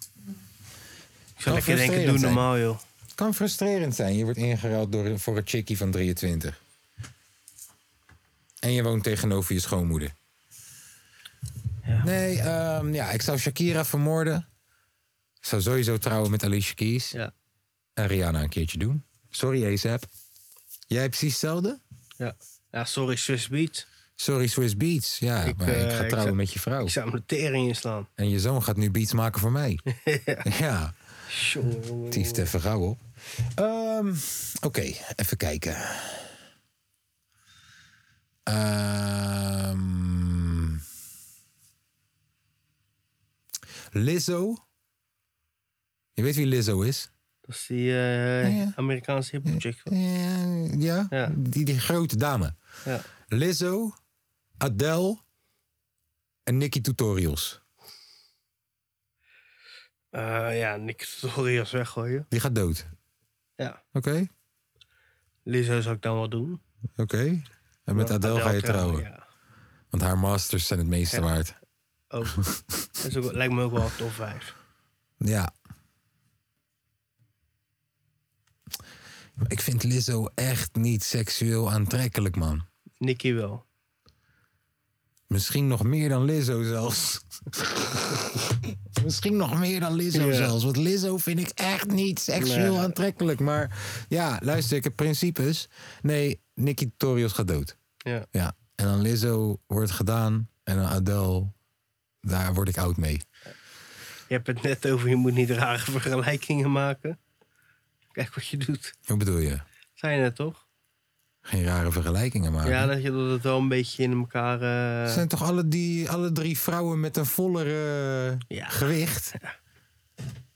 Speaker 1: Oh,
Speaker 2: zou lekker denken, doe
Speaker 1: frustrerend zijn.
Speaker 2: normaal joh.
Speaker 1: Het kan frustrerend zijn. Je wordt ingeruild door, voor een chickie van 23. En je woont tegenover je schoonmoeder. Nee, ehm, ja, ik zou Shakira vermoorden. Ik zou sowieso trouwen met Alicia Keys.
Speaker 2: Ja.
Speaker 1: En Rihanna een keertje doen. Sorry, ASAP. Jij precies hetzelfde?
Speaker 2: Ja, ja sorry Swiss Beat.
Speaker 1: Sorry, Swiss Beats. Ja,
Speaker 2: Ik,
Speaker 1: maar
Speaker 2: eh,
Speaker 1: ik ga
Speaker 2: ik
Speaker 1: trouwen
Speaker 2: zou-
Speaker 1: met je vrouw.
Speaker 2: Ik zou hem de tering inslaan.
Speaker 1: En je zoon gaat nu beats maken voor
Speaker 2: (laughs)
Speaker 1: mij. ja.
Speaker 2: Tjonge.
Speaker 1: Tief te vergauw op. Ehm, Oké, even kijken. Ehm, Lizzo. Je weet wie Lizzo is?
Speaker 2: Dat is die eh,
Speaker 1: Ja.
Speaker 2: Amerikaanse hip chick.
Speaker 1: Eh, ja,
Speaker 2: Ja.
Speaker 1: Die, die grote dame.
Speaker 2: Ja.
Speaker 1: Lizzo, Adele en Nicky Tutorials.
Speaker 2: Eh, ja, Nick (laughs) Tutorials weggooien.
Speaker 1: Die gaat dood.
Speaker 2: Ja.
Speaker 1: Oké,
Speaker 2: Lizzo zou ik dan wel doen.
Speaker 1: oké. En met Adele, ga je trouwen.
Speaker 2: Ja.
Speaker 1: Want haar masters zijn het meeste
Speaker 2: Ja.
Speaker 1: waard. (laughs)
Speaker 2: Ook. Dat is ook, lijkt me ook wel een top 5.
Speaker 1: Ja. Ik vind Lizzo echt niet seksueel aantrekkelijk, man.
Speaker 2: Nicky wel.
Speaker 1: Misschien nog meer dan Lizzo zelfs. (laughs) Misschien nog meer dan Lizzo
Speaker 2: Ja.
Speaker 1: zelfs. Want Lizzo vind ik echt niet seksueel
Speaker 2: Nee.
Speaker 1: aantrekkelijk. Maar ja, luister, ik heb principes. Nee, Nicky Tutorials gaat dood.
Speaker 2: Ja.
Speaker 1: Ja. En dan Lizzo wordt gedaan. En dan Adele, daar word ik oud mee.
Speaker 2: Je hebt het net over, je moet niet rare vergelijkingen maken. Kijk wat je doet.
Speaker 1: Hoe bedoel je?
Speaker 2: Zijn het toch?
Speaker 1: Geen rare vergelijkingen maken.
Speaker 2: Ja, dat je dat het wel een beetje in elkaar. eh,
Speaker 1: Het zijn toch alle, die, alle drie vrouwen met een voller eh,
Speaker 2: Ja.
Speaker 1: gewicht?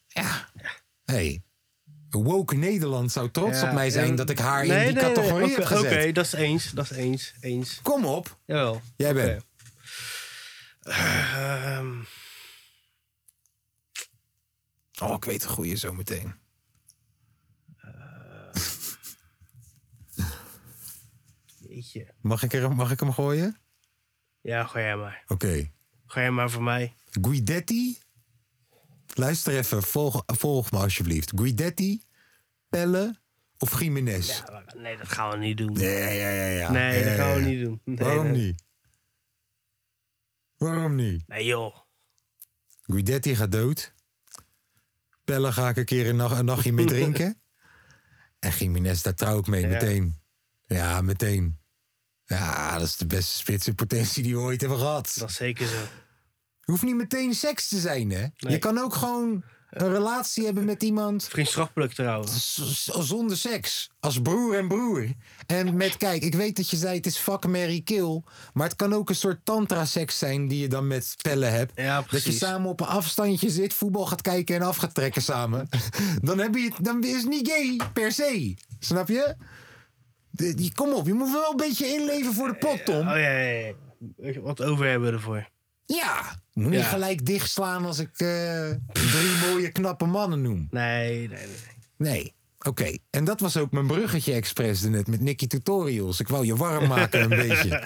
Speaker 1: Ja. Hey. Woke Nederland zou trots
Speaker 2: ja,
Speaker 1: op mij zijn
Speaker 2: en-
Speaker 1: dat ik haar
Speaker 2: Nee,
Speaker 1: in die
Speaker 2: nee, nee,
Speaker 1: categorie
Speaker 2: oké,
Speaker 1: heb gezet.
Speaker 2: Oké, dat is eens. Dat is eens. Eens.
Speaker 1: Kom op.
Speaker 2: Jawel.
Speaker 1: Jij
Speaker 2: Oké.
Speaker 1: bent.
Speaker 2: Ehm,
Speaker 1: Oh, ik weet een goeie zometeen.
Speaker 2: jeetje.
Speaker 1: Mag ik, er, mag ik hem gooien?
Speaker 2: Ja, gooi jij maar.
Speaker 1: Oké.
Speaker 2: Gooi jij maar voor mij.
Speaker 1: Guidetti. Luister even, volg, volg me alsjeblieft. Guidetti, Pelle, Of Jiménez?
Speaker 2: Nee, dat gaan we niet doen.
Speaker 1: Ah, Nee, ja, ja, ja.
Speaker 2: Nee,
Speaker 1: Ja,
Speaker 2: dat
Speaker 1: ja,
Speaker 2: gaan we
Speaker 1: ja.
Speaker 2: niet doen. (laughs) Nee,
Speaker 1: Waarom
Speaker 2: dat-
Speaker 1: niet? Waarom niet?
Speaker 2: Nee, joh.
Speaker 1: Guidetti gaat dood. Pelle ga ik een keer een, nacht, een nachtje (laughs) mee drinken. en Jiménez, daar trouw ik mee
Speaker 2: Ja.
Speaker 1: meteen. Ja, meteen. Ja, dat is de beste spits in potentie die we ooit hebben gehad.
Speaker 2: Dat is zeker zo.
Speaker 1: Je hoeft niet meteen seks te zijn, hè? Je kan ook gewoon een relatie hebben met iemand.
Speaker 2: Vriendschappelijk trouwens.
Speaker 1: zonder seks. Als broer en broer. En met, kijk, ik weet dat je zei het is fuck, Mary kill. Maar het kan ook een soort tantra-seks zijn die je dan met Pelle hebt. dat je
Speaker 2: precies.
Speaker 1: samen op een afstandje zit, voetbal gaat kijken en af gaat trekken samen. (laughs) dan, heb je, het- dan is het niet gay, per se. Snap je? De- die, kom op, je moet wel een beetje inleven voor de pot, Tom.
Speaker 2: Oh ja, ja, ja. Wat over hebben we ervoor?
Speaker 1: Ja, je moet
Speaker 2: Ja.
Speaker 1: niet gelijk dichtslaan als ik eh, drie mooie, knappe mannen noem.
Speaker 2: Nee, nee, nee.
Speaker 1: Nee. Oké, en dat was ook mijn bruggetje expres net met Nicky Tutorials. Ik wou je warm maken een
Speaker 2: (laughs)
Speaker 1: beetje.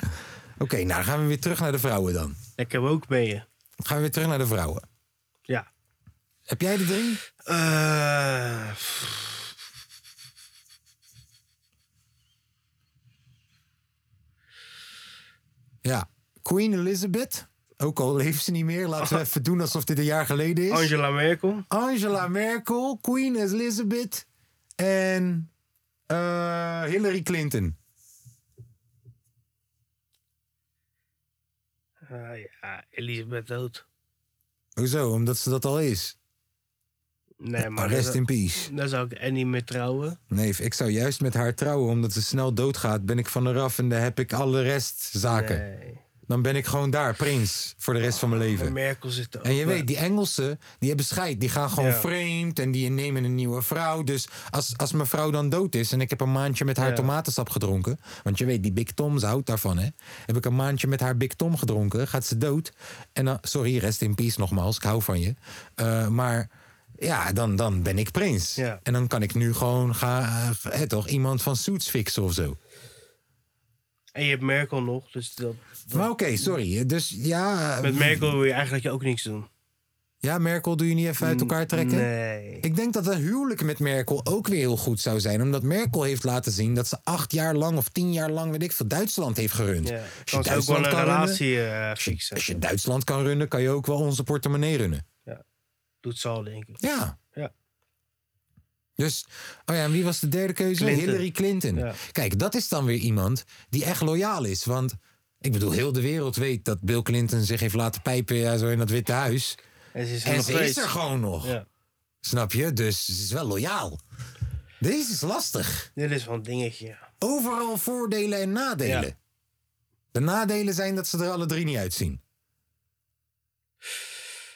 Speaker 1: Oké, nou dan gaan we weer terug naar de vrouwen dan.
Speaker 2: Ik heb ook mee. hè.
Speaker 1: Dan gaan we weer terug naar de vrouwen.
Speaker 2: Ja.
Speaker 1: Heb jij de drie?
Speaker 2: Eh,
Speaker 1: Ja. Queen Elizabeth. Ook al leeft ze niet meer.
Speaker 2: (laughs)
Speaker 1: Laten we even doen alsof dit een jaar geleden is.
Speaker 2: Angela Merkel.
Speaker 1: Angela Merkel, Queen Elizabeth en eh, Hillary Clinton.
Speaker 2: Eh, ja, Elisabeth dood.
Speaker 1: Hoezo? Omdat ze dat al is.
Speaker 2: Nee, maar
Speaker 1: Oh, Rest
Speaker 2: dan-
Speaker 1: in peace.
Speaker 2: Dan zou ik Annie mee trouwen.
Speaker 1: Nee, ik zou juist met haar trouwen, omdat ze snel doodgaat, ben ik van haar af en dan heb ik alle restzaken. Dan ben ik gewoon daar, prins, voor de rest van mijn
Speaker 2: Maar
Speaker 1: leven.
Speaker 2: Merkel zit er ook
Speaker 1: En je
Speaker 2: bij.
Speaker 1: weet, die Engelsen, die hebben scheid. Die gaan gewoon
Speaker 2: eh, Ja.
Speaker 1: vreemd en die nemen een nieuwe vrouw. Dus als, als mijn vrouw dan dood is en ik heb een maandje met haar
Speaker 2: Ja.
Speaker 1: tomatensap gedronken... want je weet, die Big Tom, ze houdt daarvan, hè. Heb ik een maandje met haar Big Tom gedronken, gaat ze dood. En dan, sorry, rest in peace nogmaals, ik hou van je. Eh, maar ja, dan, dan ben ik prins. En dan kan ik nu gewoon ga, eh, toch, iemand van Suits fixen of zo.
Speaker 2: En je hebt Merkel nog, dus dat...
Speaker 1: Maar oké, sorry. Dus ja... eh,
Speaker 2: Met Merkel wil je eigenlijk ook niks doen.
Speaker 1: Ja, Merkel doe je niet even uit elkaar trekken?
Speaker 2: Mm, Nee.
Speaker 1: Ik denk dat een huwelijk met Merkel ook weer heel goed zou zijn. Omdat Merkel heeft laten zien dat ze acht jaar lang of tien jaar lang, weet ik veel, Duitsland heeft gerund.
Speaker 2: Ja,
Speaker 1: Als je
Speaker 2: kan ze ook wel
Speaker 1: Duitsland
Speaker 2: een
Speaker 1: kan runnen,
Speaker 2: relatie eh, fixen.
Speaker 1: als je Duitsland kan runnen, kan je ook wel onze portemonnee runnen.
Speaker 2: Doet ze al, denk ik.
Speaker 1: Ja.
Speaker 2: Ja.
Speaker 1: Dus, oh ja, en wie was de derde keuze?
Speaker 2: Clinton.
Speaker 1: Hillary Clinton.
Speaker 2: Ja.
Speaker 1: Kijk, dat is dan weer iemand die echt loyaal is. Want, ik bedoel, heel de wereld weet dat Bill Clinton zich heeft laten pijpen ja, zo in dat Witte Huis.
Speaker 2: En ze is er,
Speaker 1: En
Speaker 2: nog
Speaker 1: ze is
Speaker 2: steeds.
Speaker 1: er gewoon nog.
Speaker 2: Ja.
Speaker 1: Snap je? Dus ze is wel loyaal. Deze is lastig.
Speaker 2: Dit is wel een dingetje.
Speaker 1: Overal voordelen en nadelen.
Speaker 2: Ja.
Speaker 1: De nadelen zijn dat ze er alle drie niet uitzien.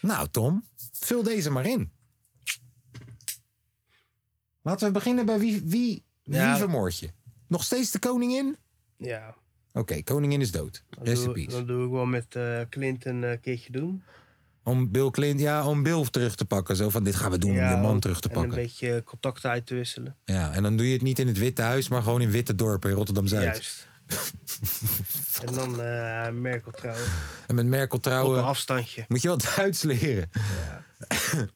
Speaker 1: Nou, Tom, vul deze maar in. Laten we beginnen bij wie, wie, wie
Speaker 2: Ja.
Speaker 1: vermoord je? Nog steeds de koningin?
Speaker 2: Ja.
Speaker 1: Oké, koningin is dood.
Speaker 2: Dat
Speaker 1: Rest in
Speaker 2: doe,
Speaker 1: peace.
Speaker 2: dat doe ik wel met eh, Clinton eh, een keertje doen.
Speaker 1: Om Bill Clinton, ja, om Bill terug te pakken. Zo van, dit gaan we doen om je man terug te
Speaker 2: En
Speaker 1: pakken.
Speaker 2: een beetje contact uit te wisselen.
Speaker 1: ja, en dan doe je het niet in het Witte Huis, maar gewoon in Witte Dorpen in Rotterdam-Zuid.
Speaker 2: Juist. en dan eh, Merkel trouwen.
Speaker 1: En met Merkel
Speaker 2: Op een
Speaker 1: trouwen
Speaker 2: afstandje.
Speaker 1: moet je wel (laughs) Duits leren.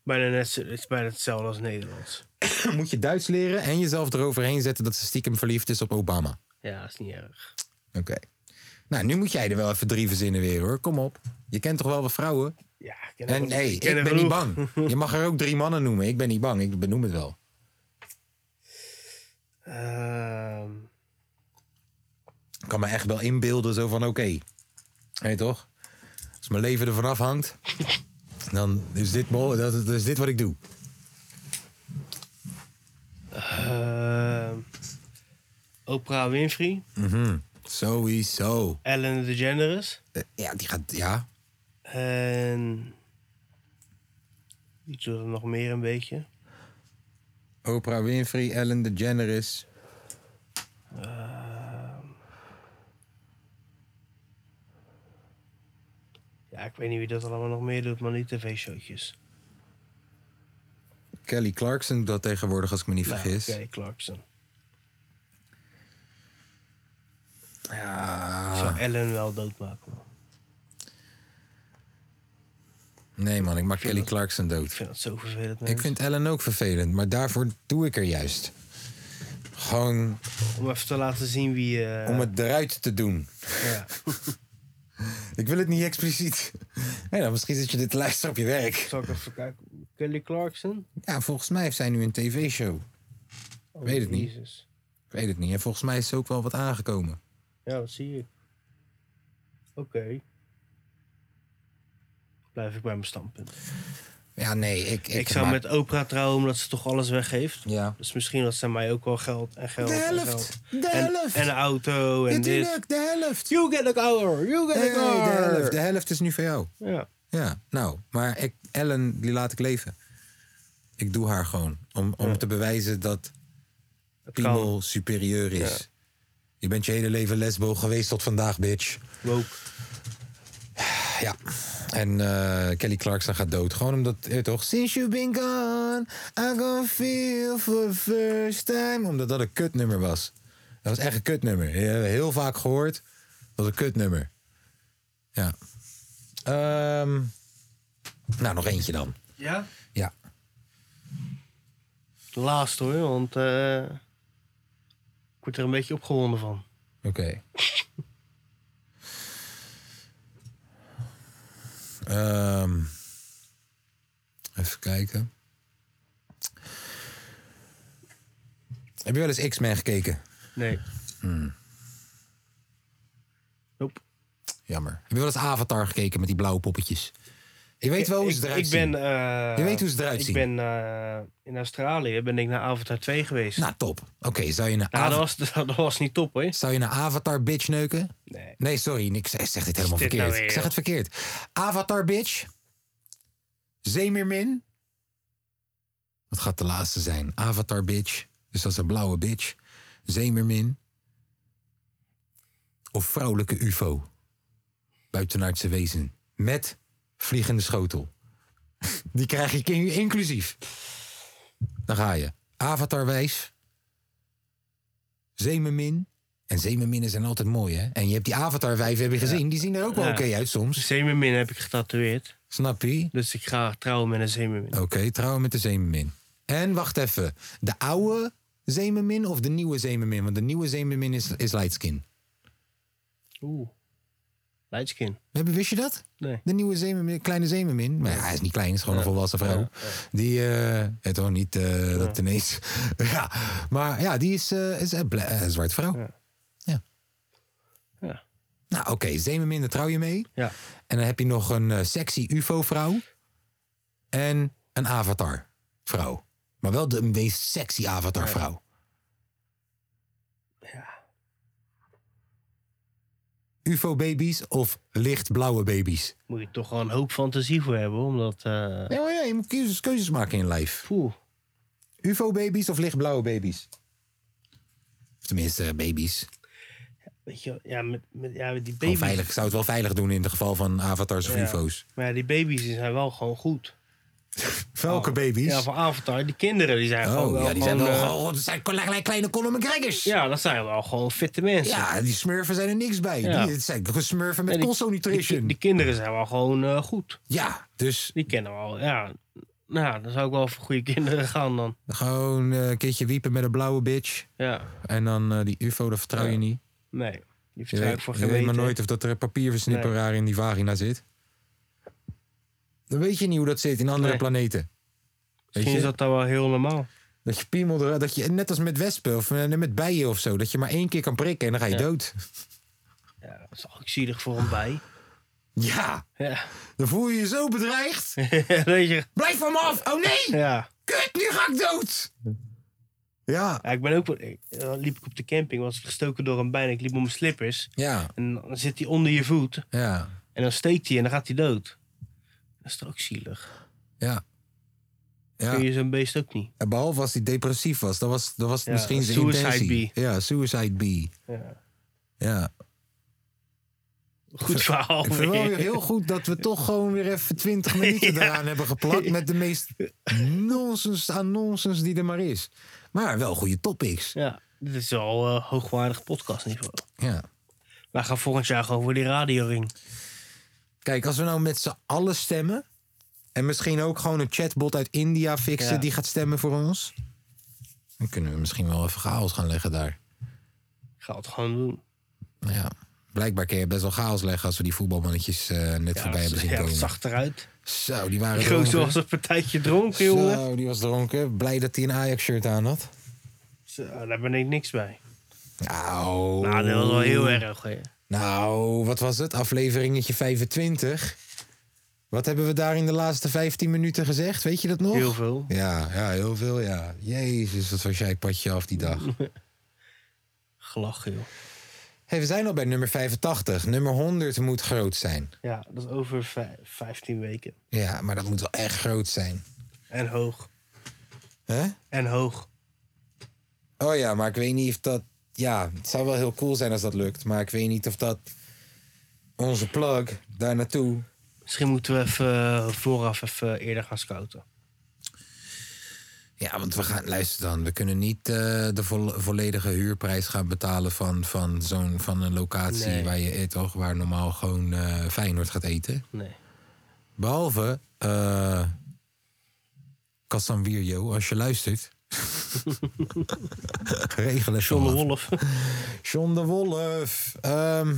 Speaker 2: Bijna net, zo- het is bijna hetzelfde als Nederlands.
Speaker 1: (clears throat) moet je Duits leren en jezelf eroverheen zetten dat ze stiekem verliefd is op Obama.
Speaker 2: Ja, dat is niet erg.
Speaker 1: Oké. Nou, nu moet jij er wel even drie verzinnen weer hoor. Kom op. Je kent toch wel wat vrouwen?
Speaker 2: Ja, ik ken er
Speaker 1: En
Speaker 2: wel-
Speaker 1: hey,
Speaker 2: ik ken
Speaker 1: ik
Speaker 2: er
Speaker 1: ben niet
Speaker 2: genoeg.
Speaker 1: bang.
Speaker 2: (laughs)
Speaker 1: Je mag er ook drie mannen noemen. Ik ben niet bang. Ik benoem het wel.
Speaker 2: Ehm,
Speaker 1: Ik kan me echt wel inbeelden zo van oké. Hé toch? Als mijn leven ervan
Speaker 2: (laughs)
Speaker 1: afhangt, dan is dit, mo- dat is- dat is dit wat ik doe.
Speaker 2: ehm, Oprah Winfrey.
Speaker 1: Mhm. Sowieso.
Speaker 2: Ellen DeGeneres.
Speaker 1: Eh, Ja, die gaat. Ja.
Speaker 2: En... Ik doe er nog meer een beetje.
Speaker 1: Oprah Winfrey, Ellen DeGeneres.
Speaker 2: Ja, ik weet niet wie dat allemaal nog meer doet, maar niet tv-showtjes.
Speaker 1: Kelly Clarkson doet dat tegenwoordig, als ik me niet
Speaker 2: Nou,
Speaker 1: vergis.
Speaker 2: Kelly Clarkson.
Speaker 1: Ja. Ah.
Speaker 2: Ik zou Ellen wel doodmaken. man.
Speaker 1: Nee, man, ik maak Kelly Clarkson dood.
Speaker 2: Ik vind dat zo vervelend.
Speaker 1: Ik vind Ellen ook vervelend, maar daarvoor doe ik er juist. Gewoon
Speaker 2: Om even te laten zien wie... eh,
Speaker 1: om het eruit te doen. ik wil het niet expliciet. (laughs) Nee, dan misschien zit je dit te luisteren op je werk.
Speaker 2: Zal ik even kijken? Kelly Clarkson?
Speaker 1: Ja, volgens mij heeft zij nu een tv-show.
Speaker 2: Oh,
Speaker 1: Weet het niet.
Speaker 2: Jezus.
Speaker 1: Ik weet het niet. En volgens mij is ze ook wel wat aangekomen.
Speaker 2: Ja, dat zie je. Oké. Blijf ik bij mijn standpunt.
Speaker 1: Ja, nee, ik...
Speaker 2: Ik, zou
Speaker 1: maar-
Speaker 2: met Oprah trouwen omdat ze toch alles weggeeft.
Speaker 1: Ja.
Speaker 2: Dus misschien dat ze mij ook wel geld en geld.
Speaker 1: De
Speaker 2: en
Speaker 1: helft,
Speaker 2: geld.
Speaker 1: de
Speaker 2: En-
Speaker 1: helft.
Speaker 2: En een auto en dit.
Speaker 1: Natuurlijk, de helft.
Speaker 2: You get a car. You get
Speaker 1: Nee,
Speaker 2: a
Speaker 1: de
Speaker 2: car.
Speaker 1: helft. De helft is nu voor jou.
Speaker 2: Ja.
Speaker 1: Ja, nou, maar ik, Ellen, die laat ik leven. Ik doe haar gewoon. Om, om te bewijzen dat piemel superieur is. Je bent je hele leven lesbo geweest tot vandaag, bitch.
Speaker 2: Woke.
Speaker 1: Ja. En eh, Kelly Clarkson gaat dood. Gewoon omdat, eh, toch? Since you've been gone, I can feel for the first time. Omdat dat een kutnummer was. Dat was echt een kutnummer. Je hebt heel vaak gehoord. Dat was een kutnummer. Ja. Ehm, nou, nog eentje dan.
Speaker 2: Ja?
Speaker 1: Ja.
Speaker 2: Laatst hoor, want eh, ik word er een beetje opgewonden van.
Speaker 1: Oké. (laughs) Ehm, even kijken. Heb je wel eens X-Men gekeken?
Speaker 2: Nee.
Speaker 1: Hmm,
Speaker 2: Nope.
Speaker 1: jammer. Heb je wel eens Avatar gekeken met die blauwe poppetjes? Je weet wel hoe ze
Speaker 2: Ik-
Speaker 1: eruit
Speaker 2: ik
Speaker 1: zien.
Speaker 2: ben, eh,
Speaker 1: Je weet hoe ze eruit zien.
Speaker 2: Ik ben eh, in Australië ben ik naar Avatar 2 geweest.
Speaker 1: Nou, top. Oké, zou je naar
Speaker 2: Nou, dat
Speaker 1: Avatar...
Speaker 2: was, (laughs) dat was niet top hoor.
Speaker 1: Zou je naar Avatar bitch neuken? Nee. Nee, sorry. Ik zeg, zeg dit helemaal
Speaker 2: dit
Speaker 1: verkeerd.
Speaker 2: nou
Speaker 1: ik
Speaker 2: weer,
Speaker 1: zeg
Speaker 2: joh?
Speaker 1: het verkeerd. Avatar bitch. Zeemermin. Dat gaat de laatste zijn. Avatar bitch. Dus dat is een blauwe bitch. Zeemermin. Of vrouwelijke ufo. Buitenaardse wezen. Met vliegende schotel. Die krijg je kin- inclusief. Dan ga je. Avatarwijs. Zeemermin. En zeemerminnen zijn altijd mooi, hè? En je hebt die avatarwijven, heb je gezien. Die zien er ook wel oké uit soms.
Speaker 2: Zeemermin heb ik getatoeëerd.
Speaker 1: Snap je?
Speaker 2: Dus ik ga trouwen met een zeemermin.
Speaker 1: Oké, trouwen met de zeemermin. En wacht even. De oude zeemermin of de nieuwe zeemermin? Want de nieuwe zeemermin is, is lightskin.
Speaker 2: Oeh. Lightskin.
Speaker 1: Heb- Wist je dat?
Speaker 2: Nee.
Speaker 1: De nieuwe zeemermin, kleine zeemermin. Maar ja, hij is niet klein, hij is gewoon een volwassen vrouw. Die, eh, het hoor niet eh, dat ineens. (laughs) ja, maar ja, die is, eh, is een bla- eh, een zwarte vrouw. Ja. ja.
Speaker 2: Ja.
Speaker 1: Nou, oké, zeemermin, daar trouw je mee.
Speaker 2: Ja.
Speaker 1: En dan heb je nog een eh, sexy UFO-vrouw. En een avatar-vrouw. Maar wel de meest sexy avatar-vrouw. UFO-babies of lichtblauwe baby's?
Speaker 2: Moet je toch wel een hoop fantasie voor hebben, omdat... eh,
Speaker 1: Ja, maar ja, je moet keuzes, keuzes maken in life. UFO-babies of lichtblauwe baby's? Of tenminste, eh, baby's.
Speaker 2: Weet je, wel, ja, met, met, ja, met die
Speaker 1: Gewoon
Speaker 2: baby's...
Speaker 1: veilig. Ik zou het wel veilig doen in het geval van avatars of
Speaker 2: Ja.
Speaker 1: UFO's.
Speaker 2: Maar ja, die baby's die zijn wel gewoon goed.
Speaker 1: Welke baby's?
Speaker 2: Ja, van Avatar. Die kinderen, die zijn
Speaker 1: Oh,
Speaker 2: gewoon wel
Speaker 1: ja, die zijn
Speaker 2: gewoon,
Speaker 1: wel
Speaker 2: eh,
Speaker 1: gewoon- dat zijn kleine, kleine Conor McGregors.
Speaker 2: Ja, dat zijn wel gewoon fitte mensen.
Speaker 1: Ja, die smurfen zijn er niks bij.
Speaker 2: Ja.
Speaker 1: Die, het zijn smurfen
Speaker 2: Ja,
Speaker 1: met
Speaker 2: die-
Speaker 1: console nutrition.
Speaker 2: Die, die kinderen zijn wel gewoon eh, goed.
Speaker 1: Ja, dus...
Speaker 2: Die kennen wel, ja. Nou, dan zou ik wel voor goede kinderen (laughs) gaan dan.
Speaker 1: Gewoon eh, een keertje wiepen met een blauwe bitch.
Speaker 2: Ja,
Speaker 1: En dan eh, die ufo, dat vertrouw je niet.
Speaker 2: nee. Die
Speaker 1: Je
Speaker 2: vertrouw ik
Speaker 1: weet,
Speaker 2: voor
Speaker 1: je
Speaker 2: geen
Speaker 1: weet maar
Speaker 2: meter.
Speaker 1: nooit of dat er papierversnipperaar in die vagina zit. Dan weet je niet hoe dat zit in andere
Speaker 2: Nee.
Speaker 1: planeten. Weet
Speaker 2: Misschien
Speaker 1: je?
Speaker 2: is
Speaker 1: Dat...
Speaker 2: dat dan wel heel normaal.
Speaker 1: je piemel eruit- dat je net als met wespen of eh, met bijen of zo, dat je maar één keer kan prikken en dan ga je dood.
Speaker 2: Ja, dat is ook zielig voor een bij. (laughs)
Speaker 1: Ja,
Speaker 2: Ja. (laughs)
Speaker 1: dan voel je je zo bedreigd.
Speaker 2: Weet je?
Speaker 1: Blijf van me af! Oh nee!
Speaker 2: Ja.
Speaker 1: Kut, nu ga ik dood! Ja.
Speaker 2: ja ik ben ook... wel- ik- eh, liep ik op de camping, was ik gestoken door een bij en ik liep op mijn slippers.
Speaker 1: Ja,
Speaker 2: En dan zit hij onder je voet.
Speaker 1: ja,
Speaker 2: En dan steekt hij en dan gaat hij dood. Dat is toch ook zielig?
Speaker 1: ja. ja.
Speaker 2: Kun je zo'n beest ook niet?
Speaker 1: En Behalve als hij depressief was, dat was, dat was
Speaker 2: Ja,
Speaker 1: misschien zijn
Speaker 2: suicide
Speaker 1: intentie. Ja, suicide bee.
Speaker 2: Ja.
Speaker 1: Ja.
Speaker 2: Goed verhaal.
Speaker 1: Ik vind wel
Speaker 2: weer.
Speaker 1: weer heel goed dat we toch gewoon weer even
Speaker 2: (laughs)
Speaker 1: 20 minuten eraan hebben geplakt. Met de meest nonsens aan nonsens die er maar is. Maar wel goede topics.
Speaker 2: Ja, dit is wel eh, hoogwaardig podcastniveau.
Speaker 1: Ja.
Speaker 2: Wij gaan volgend jaar gewoon voor die radioring.
Speaker 1: Kijk, als we nou met z'n allen stemmen. En misschien ook gewoon een chatbot uit India fixen
Speaker 2: Ja.
Speaker 1: die gaat stemmen voor ons. Dan kunnen we misschien wel even chaos gaan leggen daar. Nou
Speaker 2: Ik ga het gewoon doen.
Speaker 1: Ja. Blijkbaar kun je best wel chaos leggen als we die voetbalmannetjes eh, net
Speaker 2: Ja,
Speaker 1: voorbij hebben zien
Speaker 2: ja,
Speaker 1: komen.
Speaker 2: dat zag eruit.
Speaker 1: Zo, die waren
Speaker 2: Die gozer
Speaker 1: dronken.
Speaker 2: was een partijtje dronken, jongen.
Speaker 1: Zo, die was dronken. Blij dat hij een Ajax-shirt aan had.
Speaker 2: Zo, oh, daar ben ik niks bij.
Speaker 1: Nou,
Speaker 2: Nou, dat was wel heel erg. hè.
Speaker 1: Nou, wat was het? Afleveringetje 25. Wat hebben we daar in de laatste 15 minuten gezegd? Weet je dat nog?
Speaker 2: Heel veel.
Speaker 1: Ja, ja heel veel, ja. Jezus, wat was jij patje af die
Speaker 2: (laughs)
Speaker 1: dag.
Speaker 2: Gelachen, joh.
Speaker 1: hey, we zijn al bij nummer 85. Nummer 100 moet groot zijn.
Speaker 2: Ja, dat is over vij- 15 weken.
Speaker 1: Ja, maar dat moet wel echt groot zijn.
Speaker 2: En hoog.
Speaker 1: Hè?
Speaker 2: En hoog.
Speaker 1: Oh ja, maar ik weet niet of dat... Ja, het zou wel heel cool zijn als dat lukt. Maar ik weet niet of dat... Onze plug daar naartoe...
Speaker 2: Misschien moeten we even eh, vooraf even eerder gaan scouten.
Speaker 1: Ja, want we gaan, luister dan, we kunnen niet eh, de vo- volledige huurprijs gaan betalen van, van, zo'n, van een locatie
Speaker 2: Nee.
Speaker 1: waar je eet, toch, waar normaal gewoon eh Feyenoord gaat eten.
Speaker 2: Nee.
Speaker 1: Behalve eh Kassan Wierjo, als je luistert. (laughs) Regelen
Speaker 2: John de Wolf.
Speaker 1: John de Wolf. Ehm,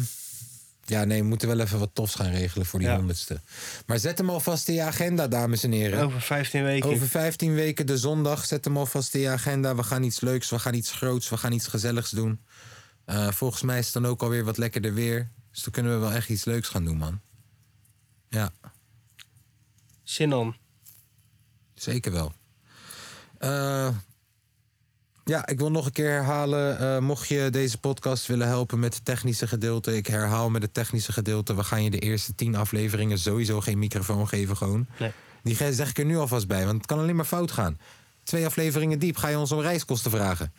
Speaker 1: ja, nee, we moeten wel even wat tofs gaan regelen voor die
Speaker 2: Ja.
Speaker 1: honderdste. Maar zet hem alvast in je agenda, dames en heren.
Speaker 2: (laughs) Over 15 weken.
Speaker 1: Over 15 weken de zondag. Zet hem alvast in je agenda. We gaan iets leuks, we gaan iets groots, we gaan iets gezelligs doen. Eh, volgens mij is het dan ook alweer wat lekkerder weer. Dus dan kunnen we wel echt iets leuks gaan doen, man. Ja,
Speaker 2: Sinan.
Speaker 1: zeker wel. Eh, ja, ik wil nog een keer herhalen. eh, mocht je deze podcast willen helpen met het technische gedeelte. Ik herhaal met het technische gedeelte. We gaan je de eerste 10 afleveringen sowieso geen microfoon geven, gewoon.
Speaker 2: Nee.
Speaker 1: Die ge- zeg ik er nu alvast bij, want het kan alleen maar fout gaan. Twee afleveringen diep ga je ons om reiskosten vragen.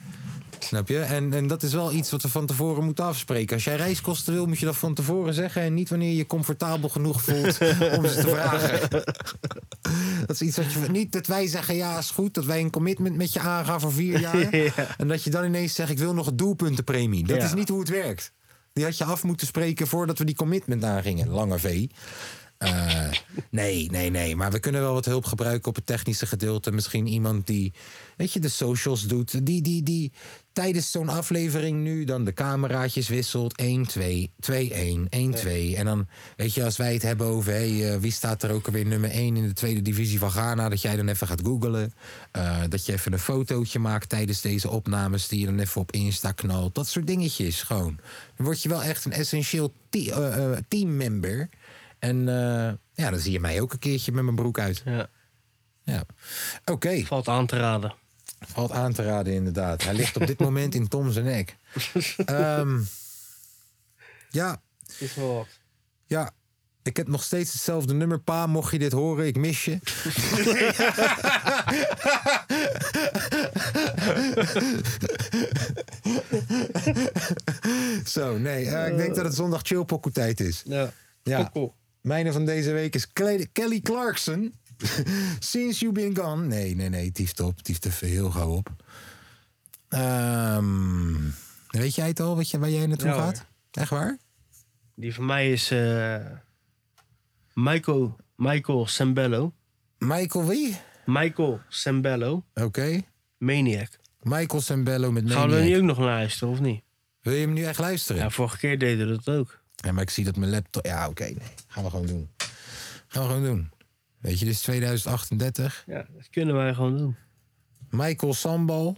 Speaker 1: Snap je? En, en dat is wel iets wat we van tevoren moeten afspreken. Als jij reiskosten wil, moet je dat van tevoren zeggen. En niet wanneer je je comfortabel genoeg voelt om ze te
Speaker 2: (laughs)
Speaker 1: vragen. dat is iets wat je. Niet dat wij zeggen: ja, is goed. Dat wij een commitment met je aangaan voor vier jaar.
Speaker 2: (laughs) Ja.
Speaker 1: En dat je dan ineens zegt: ik wil nog een doelpuntenpremie. Dat
Speaker 2: Ja.
Speaker 1: is niet hoe het werkt. Die had je af moeten spreken voordat we die commitment aangingen. Lange V. Eh, nee, nee, nee. Maar we kunnen wel wat hulp gebruiken op het technische gedeelte. Misschien iemand die, weet je, de socials doet. Die, die, die tijdens zo'n aflevering nu dan de cameraatjes wisselt. 1, 2, 2, 1, 1, 2. En dan, weet je, als wij het hebben over... Hey, eh, wie staat er ook alweer nummer 1 in de tweede divisie van Ghana... dat jij dan even gaat googlen. Eh, dat je even een fotootje maakt tijdens deze opnames... die je dan even op Insta knalt. Dat soort dingetjes gewoon. Dan word je wel echt een essentieel te- eh, eh, teammember... En eh, ja, dan zie je mij ook een keertje met mijn broek uit.
Speaker 2: Ja.
Speaker 1: Ja. Oké,
Speaker 2: Valt aan te raden.
Speaker 1: valt aan te raden inderdaad. Hij ligt op dit moment in Tom zijn nek. Ehm, ja,
Speaker 2: Is wel wat.
Speaker 1: ja. Ik heb nog steeds hetzelfde nummer. Pa, mocht je dit horen, ik mis je. (laughs) Zo, nee. eh, ik denk dat het zondag chillpokoe tijd is.
Speaker 2: Ja.
Speaker 1: Ja. Mijne van deze week is Cle- Kelly Clarkson. (laughs) Since you been gone. Nee, nee, nee. Tieft op. Tieft even heel gauw op. Ehm, weet jij het al wat je, waar jij naartoe
Speaker 2: Ja,
Speaker 1: gaat? Echt waar?
Speaker 2: Die van mij is eh, Michael, Michael Sembello.
Speaker 1: Michael wie?
Speaker 2: Michael Sembello.
Speaker 1: Oké.
Speaker 2: Maniac.
Speaker 1: Michael Sembello met
Speaker 2: Gaan we er nu
Speaker 1: Maniac.
Speaker 2: ook nog naar luisteren, of niet?
Speaker 1: Wil je hem nu echt luisteren?
Speaker 2: Ja,
Speaker 1: Ja,
Speaker 2: vorige keer deden we dat ook.
Speaker 1: maar ik zie dat mijn laptop... Ja, oké. nee. Gaan we gewoon doen. Gaan we gewoon doen. Weet je, dit is 2038.
Speaker 2: Ja, dat kunnen wij gewoon doen.
Speaker 1: Michael Sambal.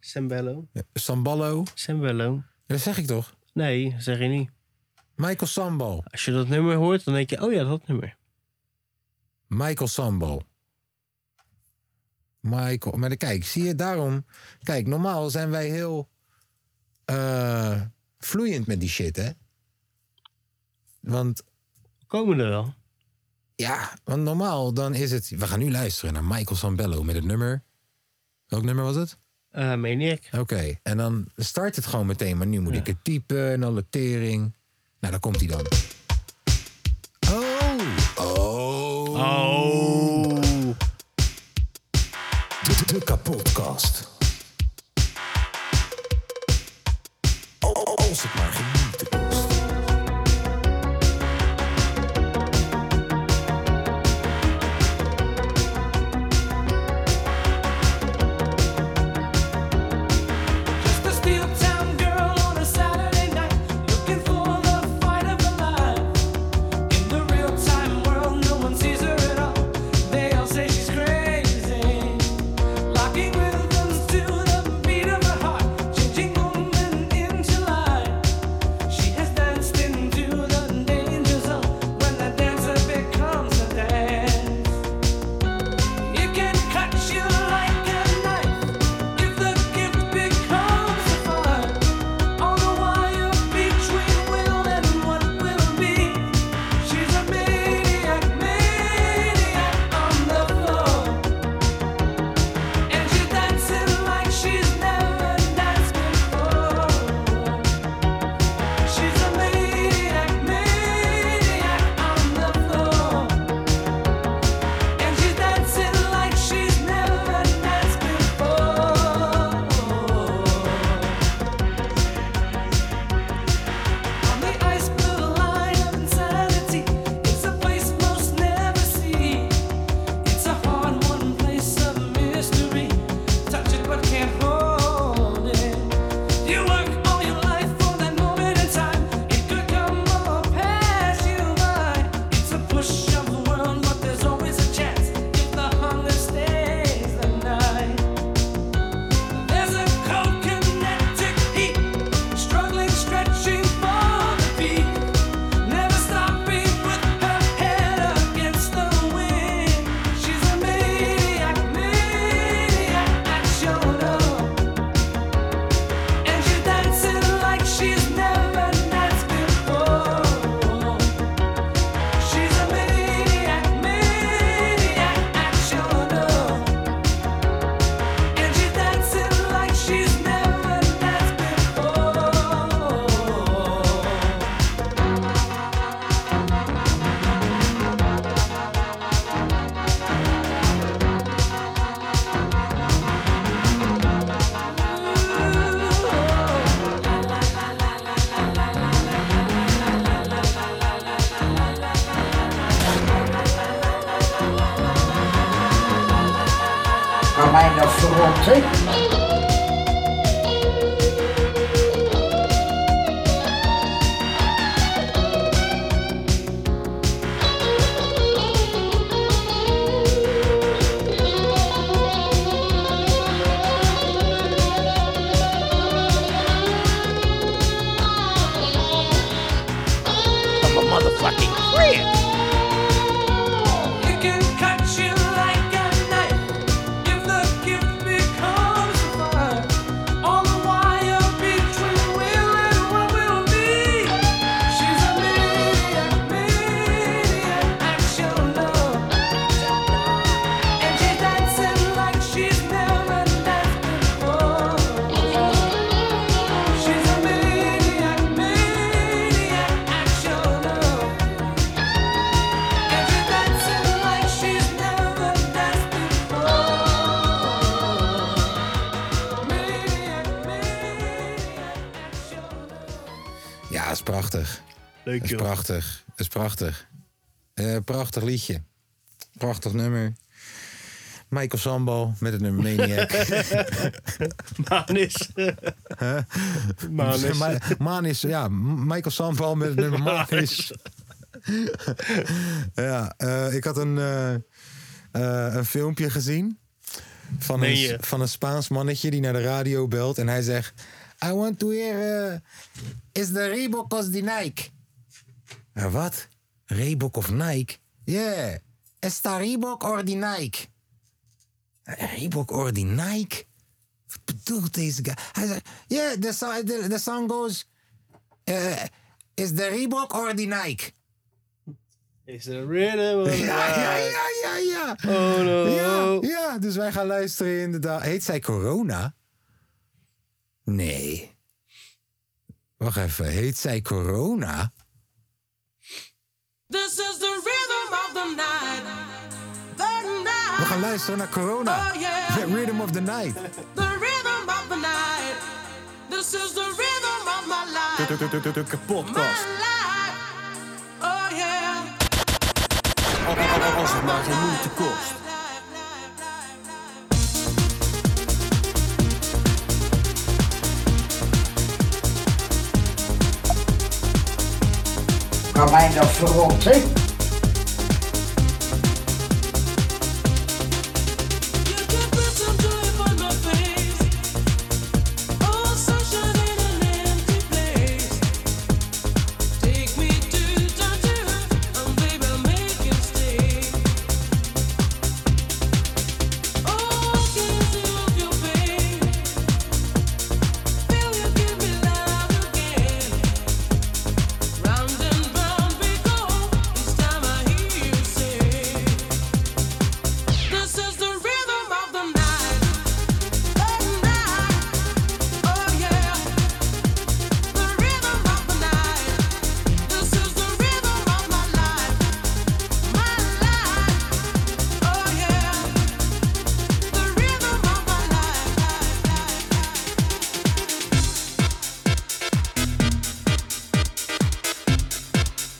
Speaker 2: Sembello.
Speaker 1: Samballo.
Speaker 2: Sembello.
Speaker 1: Dat zeg ik toch?
Speaker 2: Nee, dat zeg je niet.
Speaker 1: Michael Sambal.
Speaker 2: Als je dat nummer hoort, dan denk je, oh ja, dat nummer.
Speaker 1: Michael Sambal. Michael, maar dan- kijk, zie je daarom. Kijk, normaal zijn wij heel eh, vloeiend met die shit, hè? Want
Speaker 2: We komen er wel.
Speaker 1: ja, want normaal dan is het. We gaan nu luisteren naar Michael Sambello met het nummer. Welk nummer was het?
Speaker 2: Eh Maniac.
Speaker 1: Oké, en dan start het gewoon meteen, maar nu moet ik het typen en alle tering. Nou, daar komt hij dan. Oh! Oh!
Speaker 2: Oh.
Speaker 10: De, de kapotkast. O- o- Als het maar genieten kost.
Speaker 7: dat verrotte.
Speaker 9: I'm a motherfucking crib.
Speaker 5: It can cut you like a knife if the gift becomes a fire. All the wire between will and what will be. She's a maniac, maniac, action love. And she's dancing like she's never danced before. She's a maniac, maniac, action love.
Speaker 1: Ja, het is prachtig.
Speaker 2: Leuk,
Speaker 1: Het is prachtig. Het is prachtig. Eh, prachtig liedje. Prachtig nummer. Michael Sambo met het nummer Maniac.
Speaker 2: Manis. (laughs)
Speaker 1: Huh?
Speaker 2: Manis.
Speaker 1: (laughs) Ma- Manis, ja. M- Michael Sambo met het nummer Manis. (laughs) ja, eh, ik had een, eh, eh, een filmpje gezien van
Speaker 2: Meen
Speaker 1: een,
Speaker 2: je?
Speaker 1: van een Spaans mannetje die naar de radio belt en hij zegt... I want to hear... eh, is the Reebok of the Nike? Eh, wat? Reebok of Nike? Yeah. Esta Reebok or the Nike? Eh, Reebok or the Nike? Wat bedoelt deze guy? Hij zegt... Yeah, the, so- the, the song goes... eh, is the Reebok or the Nike?
Speaker 2: Is er rhythm
Speaker 1: (laughs)
Speaker 2: of
Speaker 1: Ja, ja,
Speaker 2: life?
Speaker 1: ja, ja, ja.
Speaker 2: Oh no.
Speaker 1: Ja, ja, dus wij gaan luisteren inderdaad. Heet zij corona? Nee. Wacht even, heet zij corona?
Speaker 5: This is the rhythm of the night.
Speaker 1: We gaan luisteren naar corona.
Speaker 5: Oh, yeah.
Speaker 1: The Rhythm of the night.
Speaker 5: The rhythm of the night. This is the rhythm of my life.
Speaker 6: Kapotkast.
Speaker 5: Oh yeah.
Speaker 6: Als het maar geen moeite kost.
Speaker 7: Kan mij dat verrotte.
Speaker 5: This is the rhythm of the night. Oh yeah, the rhythm of the night. This is the rhythm of my life, my life. Oh yeah, the rhythm of my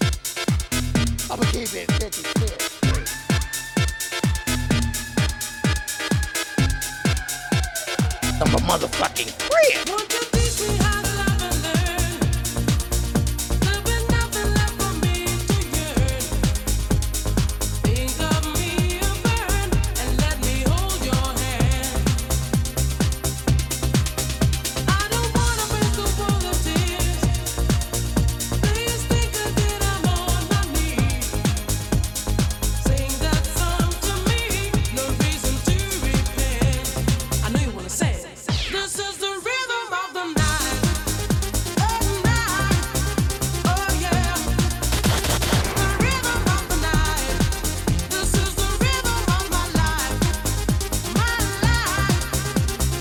Speaker 5: life. I'ma keep it fifty six.
Speaker 9: I'm a motherfucking crib.
Speaker 5: This is the rhythm of the night. Oh,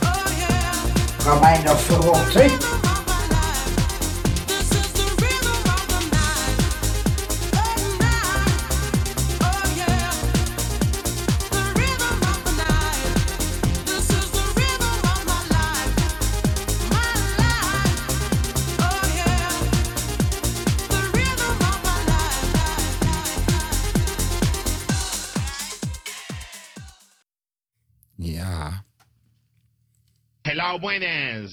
Speaker 5: Oh,
Speaker 7: Kan mij dat verrotte.
Speaker 1: Ja.
Speaker 11: Hello, buenas.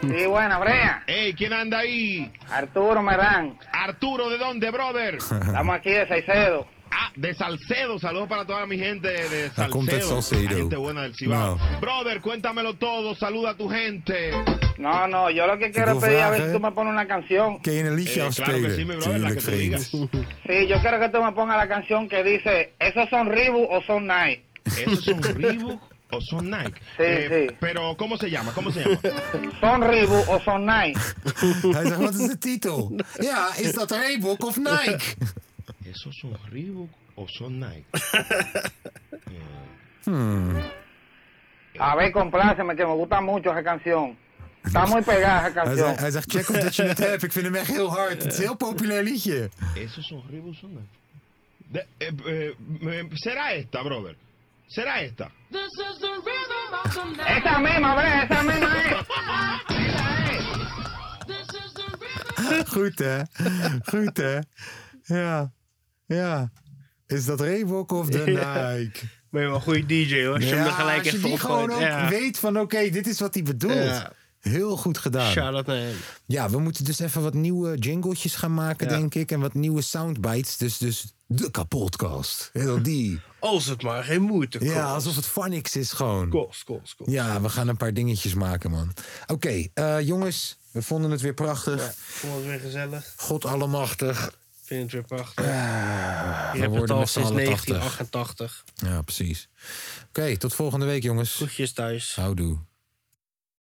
Speaker 12: Sí, buena, Brea.
Speaker 11: Hey, ¿quién anda ahí?
Speaker 12: Arturo Marán.
Speaker 11: Arturo, ¿de dónde, brother?
Speaker 12: Estamos aquí de Saicedo.
Speaker 11: Ah, de Salcedo. Saludos para toda mi gente de
Speaker 1: Daar komt uit
Speaker 11: Salcedo.
Speaker 1: Salcedo.
Speaker 11: La gente buena del Cibao.
Speaker 1: Nou.
Speaker 11: Brother, cuéntamelo todo. Saluda a tu gente.
Speaker 12: No, no, yo lo que
Speaker 1: quiero wil
Speaker 12: quiero pedir a ver
Speaker 1: vragen,
Speaker 12: si tú me pones una canción.
Speaker 1: Kun je een liedje
Speaker 11: Eh, claro que
Speaker 1: afspelen?
Speaker 11: sí, mi brother, la que tú digas.
Speaker 12: Sí, yo quiero que tú me pongas la canción que dice, ¿esos son Reebok o son Nike?
Speaker 11: ¿Esos son Reebok o son Nike?
Speaker 12: Sí,
Speaker 11: Eh,
Speaker 12: sí.
Speaker 11: Pero, ¿cómo se llama? ¿Cómo se llama?
Speaker 12: ¿Son Reebok o son Nike?
Speaker 1: (laughs) Hij zegt, wat is de titel? Ja, is dat Reebok of Nike?
Speaker 11: ¿Esos son Reebok o son Nike?
Speaker 12: A ver, compláceme, que me gusta mucho esa canción. Está muy pegada
Speaker 1: Hij
Speaker 12: esa canción.
Speaker 1: zegt, hij zegt, check of dat je het hebt. Ik vind hem echt heel hard. Het is een heel populair liedje.
Speaker 11: ¿Esos son Reebok o son Nike? De- eh, eh, eh, ¿Será esta, brother? ¿Será esta?
Speaker 5: This is the rhythm of the night.
Speaker 12: Esa misma, Brea, esa misma es.
Speaker 1: Goed, hè? Goed, hè? Ja. Ja. Is dat Reebok of de
Speaker 2: Ja.
Speaker 1: Nike?
Speaker 2: Ben je wel een goede DJ hoor. Als je hem er gelijk
Speaker 1: als je
Speaker 2: echt
Speaker 1: die
Speaker 2: opgooit.
Speaker 1: gewoon ook
Speaker 2: Ja.
Speaker 1: weet van oké, dit is wat hij bedoelt.
Speaker 2: Ja.
Speaker 1: Heel goed gedaan.
Speaker 2: Shout-out naar hem.
Speaker 1: Ja, we moeten dus even wat nieuwe jingletjes gaan maken, denk ik. En wat nieuwe soundbites. Dus, dus de kapotkast. Heel die.
Speaker 2: Als het maar geen moeite kost.
Speaker 1: Ja, alsof het Phonics is gewoon.
Speaker 2: Kost, kost, kost.
Speaker 1: Ja, we gaan een paar dingetjes maken, man. Oké, eh, jongens, we vonden het weer prachtig.
Speaker 2: Vond het weer gezellig.
Speaker 1: God allemachtig.
Speaker 2: Vind het weer
Speaker 1: Ah,
Speaker 2: prachtig.
Speaker 1: we
Speaker 2: Je hebt het
Speaker 1: worden
Speaker 2: al
Speaker 1: met z'n
Speaker 2: sinds
Speaker 1: allen 80.
Speaker 2: 1988.
Speaker 1: Ja, precies. Oké, tot volgende week, jongens.
Speaker 2: Groetjes thuis.
Speaker 1: Houdoe.